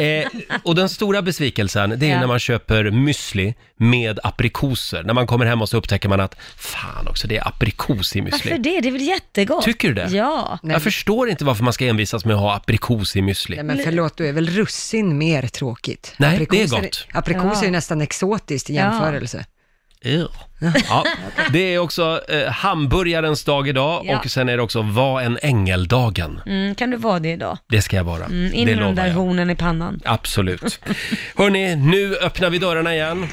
Speaker 1: eh, och den stora besvikelsen, det är
Speaker 2: Ja.
Speaker 1: när man köper müsli med aprikoser. När man kommer hem och så upptäcker man att fan också, det är aprikos i müsli.
Speaker 2: Varför det? Det är väl jättegott?
Speaker 1: Tycker du det?
Speaker 2: Ja.
Speaker 1: Jag förstår inte varför man ska envisas med att ha aprikos i müsli.
Speaker 3: Nej, men förlåt, då är väl russin mer tråkigt?
Speaker 1: Nej,
Speaker 3: Aprikoser-
Speaker 1: det är gott.
Speaker 3: Aprikos är
Speaker 2: Ja.
Speaker 3: ju nästan exotiskt i
Speaker 2: Ja.
Speaker 3: jämförelse.
Speaker 1: Ew. Ja, det är också eh, hamburgarens dag idag
Speaker 2: Ja.
Speaker 1: och sen är det också var en ängeldagen.
Speaker 2: Mm, kan du vara det idag?
Speaker 1: Det ska jag vara.
Speaker 2: Mm, in
Speaker 1: det
Speaker 2: med de
Speaker 1: lovar
Speaker 2: där
Speaker 1: jag.
Speaker 2: hornen i pannan.
Speaker 1: Absolut. Hörni, nu öppnar vi dörrarna igen.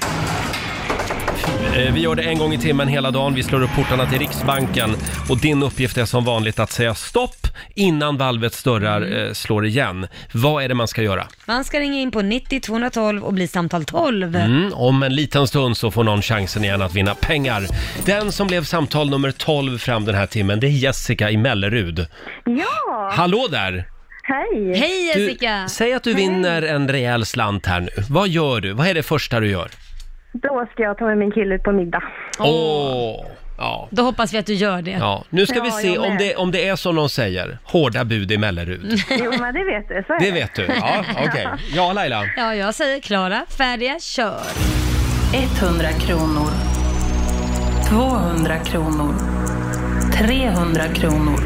Speaker 1: Eh, Vi gör det en gång i timmen hela dagen. Vi slår upp portarna till Riksbanken. Och din uppgift är som vanligt att säga stopp innan valvets dörrar
Speaker 2: Mm.
Speaker 1: eh, slår igen. Vad är det man ska göra?
Speaker 2: Man ska ringa in på 90 212 och bli samtal 12.
Speaker 1: Mm, om en liten stund så får någon chansen igen att vinna pengar. Den som blev samtal nummer 12 fram den här timmen, det är Jessica i Mellerud.
Speaker 13: Ja!
Speaker 1: Hallå där!
Speaker 13: Hej!
Speaker 2: Hej
Speaker 1: Du,
Speaker 2: Jessica!
Speaker 1: Säg att du vinner en rejäl slant här nu. Vad gör du? Vad är det första du gör?
Speaker 13: Då ska jag ta med min kille på middag.
Speaker 1: Åh! Ja.
Speaker 2: Då hoppas vi att du gör det.
Speaker 1: ja. Nu ska vi
Speaker 13: Ja,
Speaker 1: se
Speaker 13: jag
Speaker 1: om
Speaker 13: med.
Speaker 1: det, om det är som någon säger, hårda bud i Mellerud.
Speaker 13: Jo, men det vet du. Så är
Speaker 1: Det vet du? Ja, okej. Ja, Laila?
Speaker 2: Ja, jag säger klara, färdiga, kör.
Speaker 6: 100 kronor. 200 kronor. 300 kronor.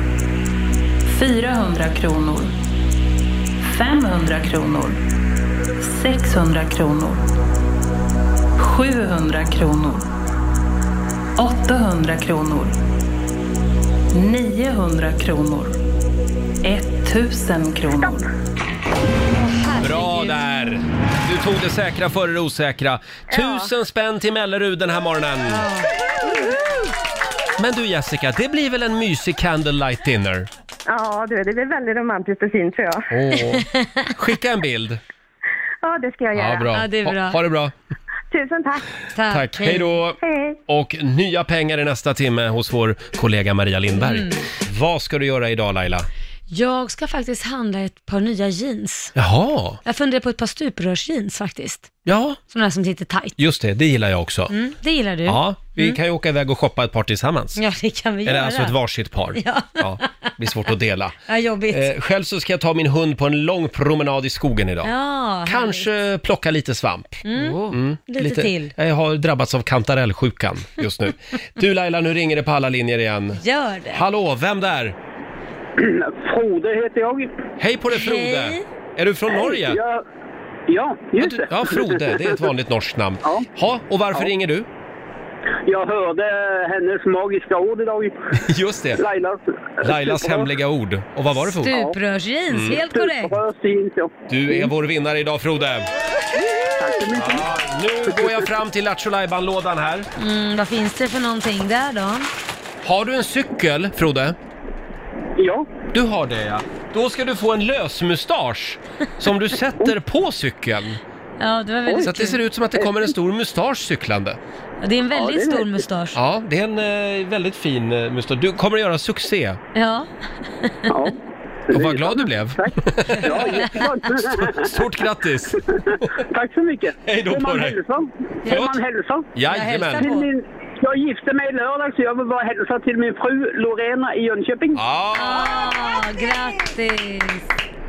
Speaker 6: 400 kronor. 500 kronor. 600 kronor. 700 kronor. 800 kronor. 900 kronor. 1000 kronor.
Speaker 1: Bra där! Du tog det säkra före det osäkra. Tusen spänn till Mellerud den här morgonen. Men du Jessica, det blir väl en mysig candlelight dinner?
Speaker 13: Ja, du, det blir väldigt romantiskt och fint tror jag.
Speaker 1: Åh. Skicka en bild.
Speaker 13: Ja, det ska jag göra.
Speaker 1: Ha, ha det bra.
Speaker 13: Tusen tack.
Speaker 2: Tack.
Speaker 1: Tack. Hej då.
Speaker 13: Hej.
Speaker 1: Och nya pengar i nästa timme hos vår kollega Maria Lindberg.
Speaker 2: Mm.
Speaker 1: Vad ska du göra idag Laila?
Speaker 2: Jag ska faktiskt handla ett par nya jeans.
Speaker 1: Jaha,
Speaker 2: Jag funderar på ett par stuprörsjeans faktiskt.
Speaker 1: ja,
Speaker 2: Sådana här som sitter tight.
Speaker 1: just det, det gillar jag också.
Speaker 2: Mm, det gillar du.
Speaker 1: Ja, vi
Speaker 2: Mm.
Speaker 1: kan ju åka iväg och shoppa ett par tillsammans.
Speaker 2: Ja, det kan vi
Speaker 1: Eller
Speaker 2: göra.
Speaker 1: alltså ett varsitt par.
Speaker 2: Ja.
Speaker 1: Ja, det blir svårt att dela.
Speaker 2: Ja, jobbigt.
Speaker 1: Eh, själv så ska jag ta min hund på en lång promenad i skogen idag.
Speaker 2: ja,
Speaker 1: Kanske plocka lite svamp.
Speaker 2: Mm.
Speaker 1: Mm,
Speaker 2: Lite till.
Speaker 1: Jag har drabbats av kantarellsjukan just nu. Du Laila, nu ringer det på alla linjer igen.
Speaker 2: Gör det.
Speaker 1: Hallå, vem där?
Speaker 15: Frode heter jag.
Speaker 1: Hej på dig Frode!
Speaker 15: Hej.
Speaker 1: Är du från Norge?
Speaker 15: Ja, ja just det.
Speaker 1: Ja, Frode, det är ett vanligt norskt namn. Ja, och varför
Speaker 15: Ja.
Speaker 1: ringer du?
Speaker 15: Jag hörde hennes magiska ord idag.
Speaker 1: Just det.
Speaker 15: Lailas,
Speaker 1: Lailas hemliga ord. Och vad var det för ord?
Speaker 2: Stuprörsjeans,
Speaker 1: Mm.
Speaker 2: helt korrekt.
Speaker 1: Du är vår vinnare idag Frode! Ja, nu går jag fram till Lattjo lådan här.
Speaker 2: Mm, vad finns det för någonting där då?
Speaker 1: Har du en cykel, Frode?
Speaker 15: Ja.
Speaker 1: Du har det ja. Då ska du få en lösmustasch som du sätter på cykeln.
Speaker 2: Ja, det var väldigt
Speaker 1: Så att det
Speaker 2: kul.
Speaker 1: ser ut som att det kommer en stor mustasch cyklande.
Speaker 2: Ja, Det är en väldigt
Speaker 1: Ja, det är
Speaker 2: stor mustasch.
Speaker 1: Ja, det är en eh, väldigt fin eh, mustasch. Du kommer att göra succé.
Speaker 2: Ja.
Speaker 1: Och vad glad du blev.
Speaker 15: Ja, jätteglad.
Speaker 1: Stort, stort grattis!
Speaker 15: Tack så mycket.
Speaker 1: Hej då
Speaker 15: Får
Speaker 1: på
Speaker 15: man
Speaker 1: dig.
Speaker 15: hälsa? Får
Speaker 1: Förlåt?
Speaker 15: man hälsa?
Speaker 1: Jajamän. Jag hälsar på.
Speaker 15: Till min, jag gifte mig i lördags så jag vill bara hälsa till min fru Lorena i Jönköping.
Speaker 1: Ah.
Speaker 2: Ah, grattis!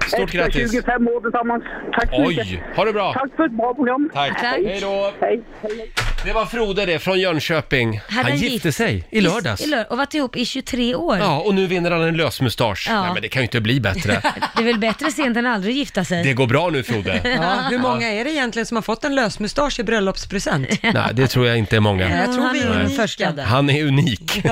Speaker 1: Stort grattis.
Speaker 15: 25 år tillsammans. Tack så
Speaker 1: Oj,
Speaker 15: mycket.
Speaker 1: ha det bra!
Speaker 15: Tack för ett bra program.
Speaker 1: Tack. Tack. Hej då.
Speaker 15: Hej.
Speaker 1: Det var Frode det, från Jönköping.
Speaker 2: Hade
Speaker 1: Han gifte
Speaker 2: gift-
Speaker 1: sig i lördags.
Speaker 2: I lör- och varit ihop i 23 år.
Speaker 1: Ja, och nu vinner han en lösmustasch.
Speaker 2: Ja.
Speaker 1: Nej men det kan ju inte bli bättre.
Speaker 2: Det är väl bättre sent än aldrig gifta sig?
Speaker 1: Det går bra nu Frode.
Speaker 3: Ja, hur många är det egentligen som har fått en lösmustasch i bröllopspresent?
Speaker 1: Nej, det tror jag inte är många.
Speaker 3: Jag tror vi är
Speaker 1: Nej.
Speaker 3: den första där.
Speaker 1: Han är unik.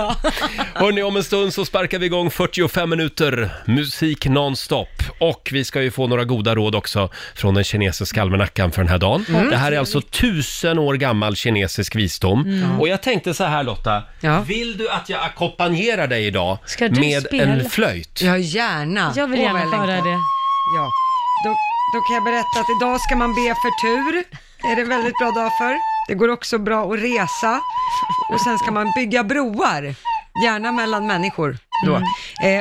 Speaker 1: Hörni, om en stund så sparkar vi igång 45 minuter musik nonstop. Och vi ska ju få några goda råd också från den kinesiska almanackan för den här dagen.
Speaker 7: Mm.
Speaker 1: Det här är alltså tusen år gammal kinesisk visdom.
Speaker 7: Mm.
Speaker 1: Och jag tänkte så här Lotta, vill du att jag ackompanjerar dig idag
Speaker 3: Ska du
Speaker 1: med
Speaker 3: spela?
Speaker 1: en flöjt?
Speaker 3: Ja, gärna.
Speaker 2: Jag vill
Speaker 3: Åh,
Speaker 2: gärna
Speaker 3: vad längtar.
Speaker 2: höra det.
Speaker 3: Ja, då, då kan jag berätta att idag ska man be för tur. Det är en väldigt bra dag för. Det går också bra att resa. Och sen ska man bygga broar, gärna mellan människor. Då.
Speaker 1: Mm.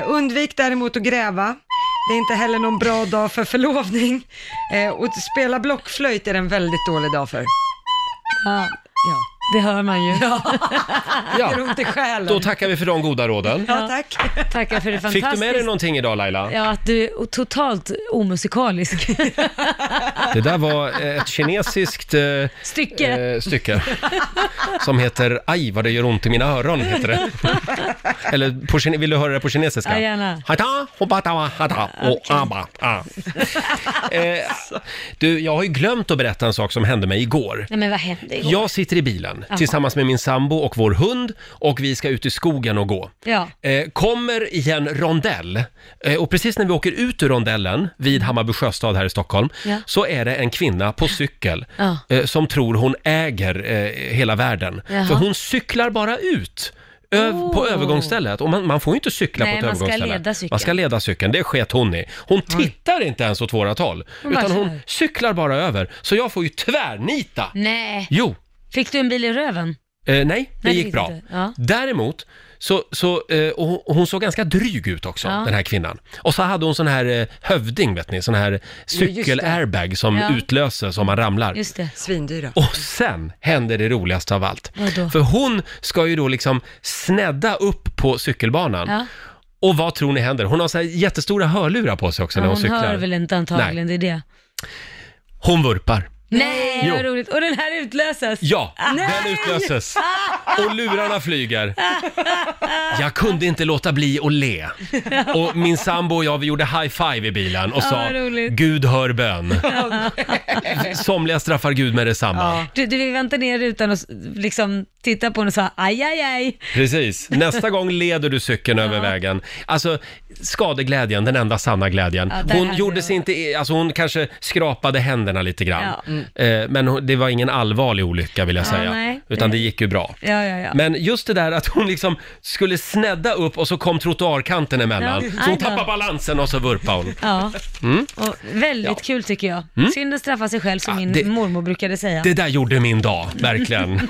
Speaker 3: Eh, undvik däremot att gräva. Det är inte heller någon bra dag för förlovning. Eh, och att spela blockflöjt är en väldigt dålig dag för.
Speaker 2: Ja. Det hör man ju.
Speaker 1: Ja.
Speaker 3: Det gör ont i själen.
Speaker 1: Då tackar vi för de goda råden.
Speaker 3: Ja, tack.
Speaker 2: Tackar för det
Speaker 1: Fick
Speaker 2: fantastiska.
Speaker 1: du med dig någonting idag Laila?
Speaker 2: Ja, att du är totalt omusikalisk.
Speaker 1: Det där var eh, ett kinesiskt eh,
Speaker 2: Stycke.
Speaker 1: eh, stycke som heter Aj vad det gör ont i mina öron, heter det. Eller på kine- vill du höra det på kinesiska?
Speaker 2: Ja, gärna.
Speaker 1: Hata, hobatawa, hata, och aba, a. Eh, du, jag har ju glömt att berätta en sak som hände mig igår.
Speaker 2: Nej men vad hände igår?
Speaker 1: Jag sitter i bilen
Speaker 2: Jaha.
Speaker 1: tillsammans med min sambo och vår hund och vi ska ut i skogen och gå.
Speaker 2: Ja.
Speaker 1: Eh, kommer i en rondell eh, och precis när vi åker ut ur rondellen vid Hammarby sjöstad här i Stockholm
Speaker 2: Ja.
Speaker 1: så är det en kvinna på cykel
Speaker 2: Ja.
Speaker 1: eh, som tror hon äger eh, hela världen.
Speaker 2: Jaha.
Speaker 1: För hon cyklar bara ut. Öv, På
Speaker 2: Oh.
Speaker 1: övergångsstället. Och man, man får ju inte cykla
Speaker 2: Nej,
Speaker 1: på ett
Speaker 2: man ska
Speaker 1: övergångsställe.
Speaker 2: leda cykeln.
Speaker 1: Man ska leda cykeln. Det sket hon i. Hon tittar inte ens åt vårat håll.
Speaker 2: Hon bara
Speaker 1: utan hon
Speaker 2: kör.
Speaker 1: cyklar bara över. Så jag får ju tvärnita.
Speaker 2: Nej.
Speaker 1: Jo,
Speaker 2: Fick du en bil i röven?
Speaker 1: Eh, nej, det
Speaker 2: Nej,
Speaker 1: gick bra.
Speaker 2: inte. Ja.
Speaker 1: Däremot, så, så, eh, och hon- och hon såg ganska dryg ut också,
Speaker 2: Ja.
Speaker 1: den här kvinnan. Och så hade hon sån här eh, hövding, vet ni, sån här cykel-airbag som
Speaker 2: Ja.
Speaker 1: utlöses om man ramlar.
Speaker 2: Just det.
Speaker 3: Svindyra.
Speaker 1: Och sen hände det roligaste av allt.
Speaker 2: Vadå?
Speaker 1: För hon ska ju då liksom snedda upp på cykelbanan.
Speaker 2: Ja.
Speaker 1: Och vad tror ni händer? Hon har så här jättestora hörlurar på sig också
Speaker 2: Ja,
Speaker 1: när hon,
Speaker 2: hon
Speaker 1: cyklar.
Speaker 2: hör väl inte antagligen, det är det.
Speaker 1: Hon vurpar.
Speaker 2: Nej,
Speaker 1: Jo.
Speaker 2: vad roligt. Och den här utlöses? Ah.
Speaker 1: Ja,
Speaker 2: Nej!
Speaker 1: den utlöses. Och lurarna flyger. Jag kunde inte låta bli att le.
Speaker 2: Ah.
Speaker 1: Och min sambo och jag, vi gjorde high-five i bilen och
Speaker 2: Ja,
Speaker 1: sa
Speaker 2: vad roligt.
Speaker 1: “Gud hör bön”. Somliga straffar Gud med detsamma.
Speaker 2: Du, du vill vänta ner rutan och s- liksom titta på den och säga aj, aj, aj.
Speaker 1: Precis. Nästa gång leder du cykeln över vägen. Alltså, skadeglädjen, den enda sanna glädjen.
Speaker 2: Ja, där
Speaker 1: Hon
Speaker 2: hade
Speaker 1: gjorde sig inte, alltså hon kanske skrapade händerna lite grann.
Speaker 2: Ja.
Speaker 1: Eh, Men hon- det var ingen allvarlig olycka vill jag
Speaker 2: Ja,
Speaker 1: säga.
Speaker 2: nej.
Speaker 1: Utan det gick ju bra.
Speaker 2: Ja, ja, ja.
Speaker 1: Men just det där att hon liksom skulle snedda upp och så kom trottoarkanten emellan.
Speaker 2: Ja.
Speaker 1: Så hon
Speaker 2: Aj då.
Speaker 1: tappade balansen och så vurpade hon.
Speaker 2: Ja,
Speaker 1: Mm.
Speaker 2: och väldigt
Speaker 1: Ja.
Speaker 2: kul tycker jag.
Speaker 1: Mm.
Speaker 2: Synd att straffa sig själv som min
Speaker 1: det-
Speaker 2: mormor brukade säga.
Speaker 1: Det där gjorde min dag, verkligen.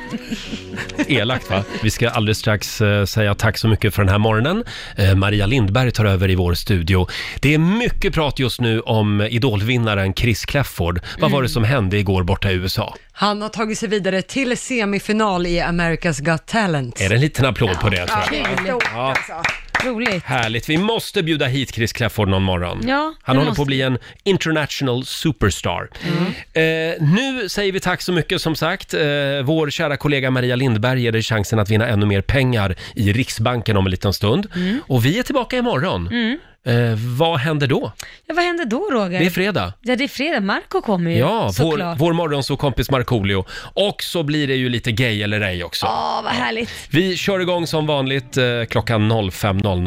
Speaker 1: Elakt va? Vi ska alldeles strax eh, säga tack så mycket för den här morgonen. Eh, Maria Lindberg tar över i vår studio. Det är mycket prat just nu om idolvinnaren Chris Clafford. Vad var det
Speaker 3: Mm.
Speaker 1: som hände igår borta i USA?
Speaker 3: Han har tagit sig vidare till semifinal i America's Got Talent.
Speaker 1: Är det en liten applåd på det? tror jag?
Speaker 3: Kul.
Speaker 1: Ja,
Speaker 2: alltså. Roligt.
Speaker 1: härligt. Vi måste bjuda hit Chris Clafford någon morgon.
Speaker 2: Ja,
Speaker 1: Han håller
Speaker 2: det
Speaker 1: på
Speaker 2: måste Mm.
Speaker 1: att bli en international superstar. Eh, nu säger vi tack så mycket som sagt. Eh, vår kära kollega Maria Lindberg ger dig chansen att vinna ännu mer pengar i Riksbanken om en liten stund. Och vi är tillbaka imorgon.
Speaker 2: Mm.
Speaker 1: Eh, vad händer då?
Speaker 2: Ja, vad händer då Roger?
Speaker 1: Det är fredag.
Speaker 2: Ja, det är fredag. Marco kommer ju
Speaker 1: Ja, vår,
Speaker 2: såklart.
Speaker 1: vår morgonsåkompis Markoolio. Och så blir det ju lite gay eller ej också.
Speaker 2: Åh, vad härligt.
Speaker 1: Vi kör igång som vanligt eh, klockan 05.00.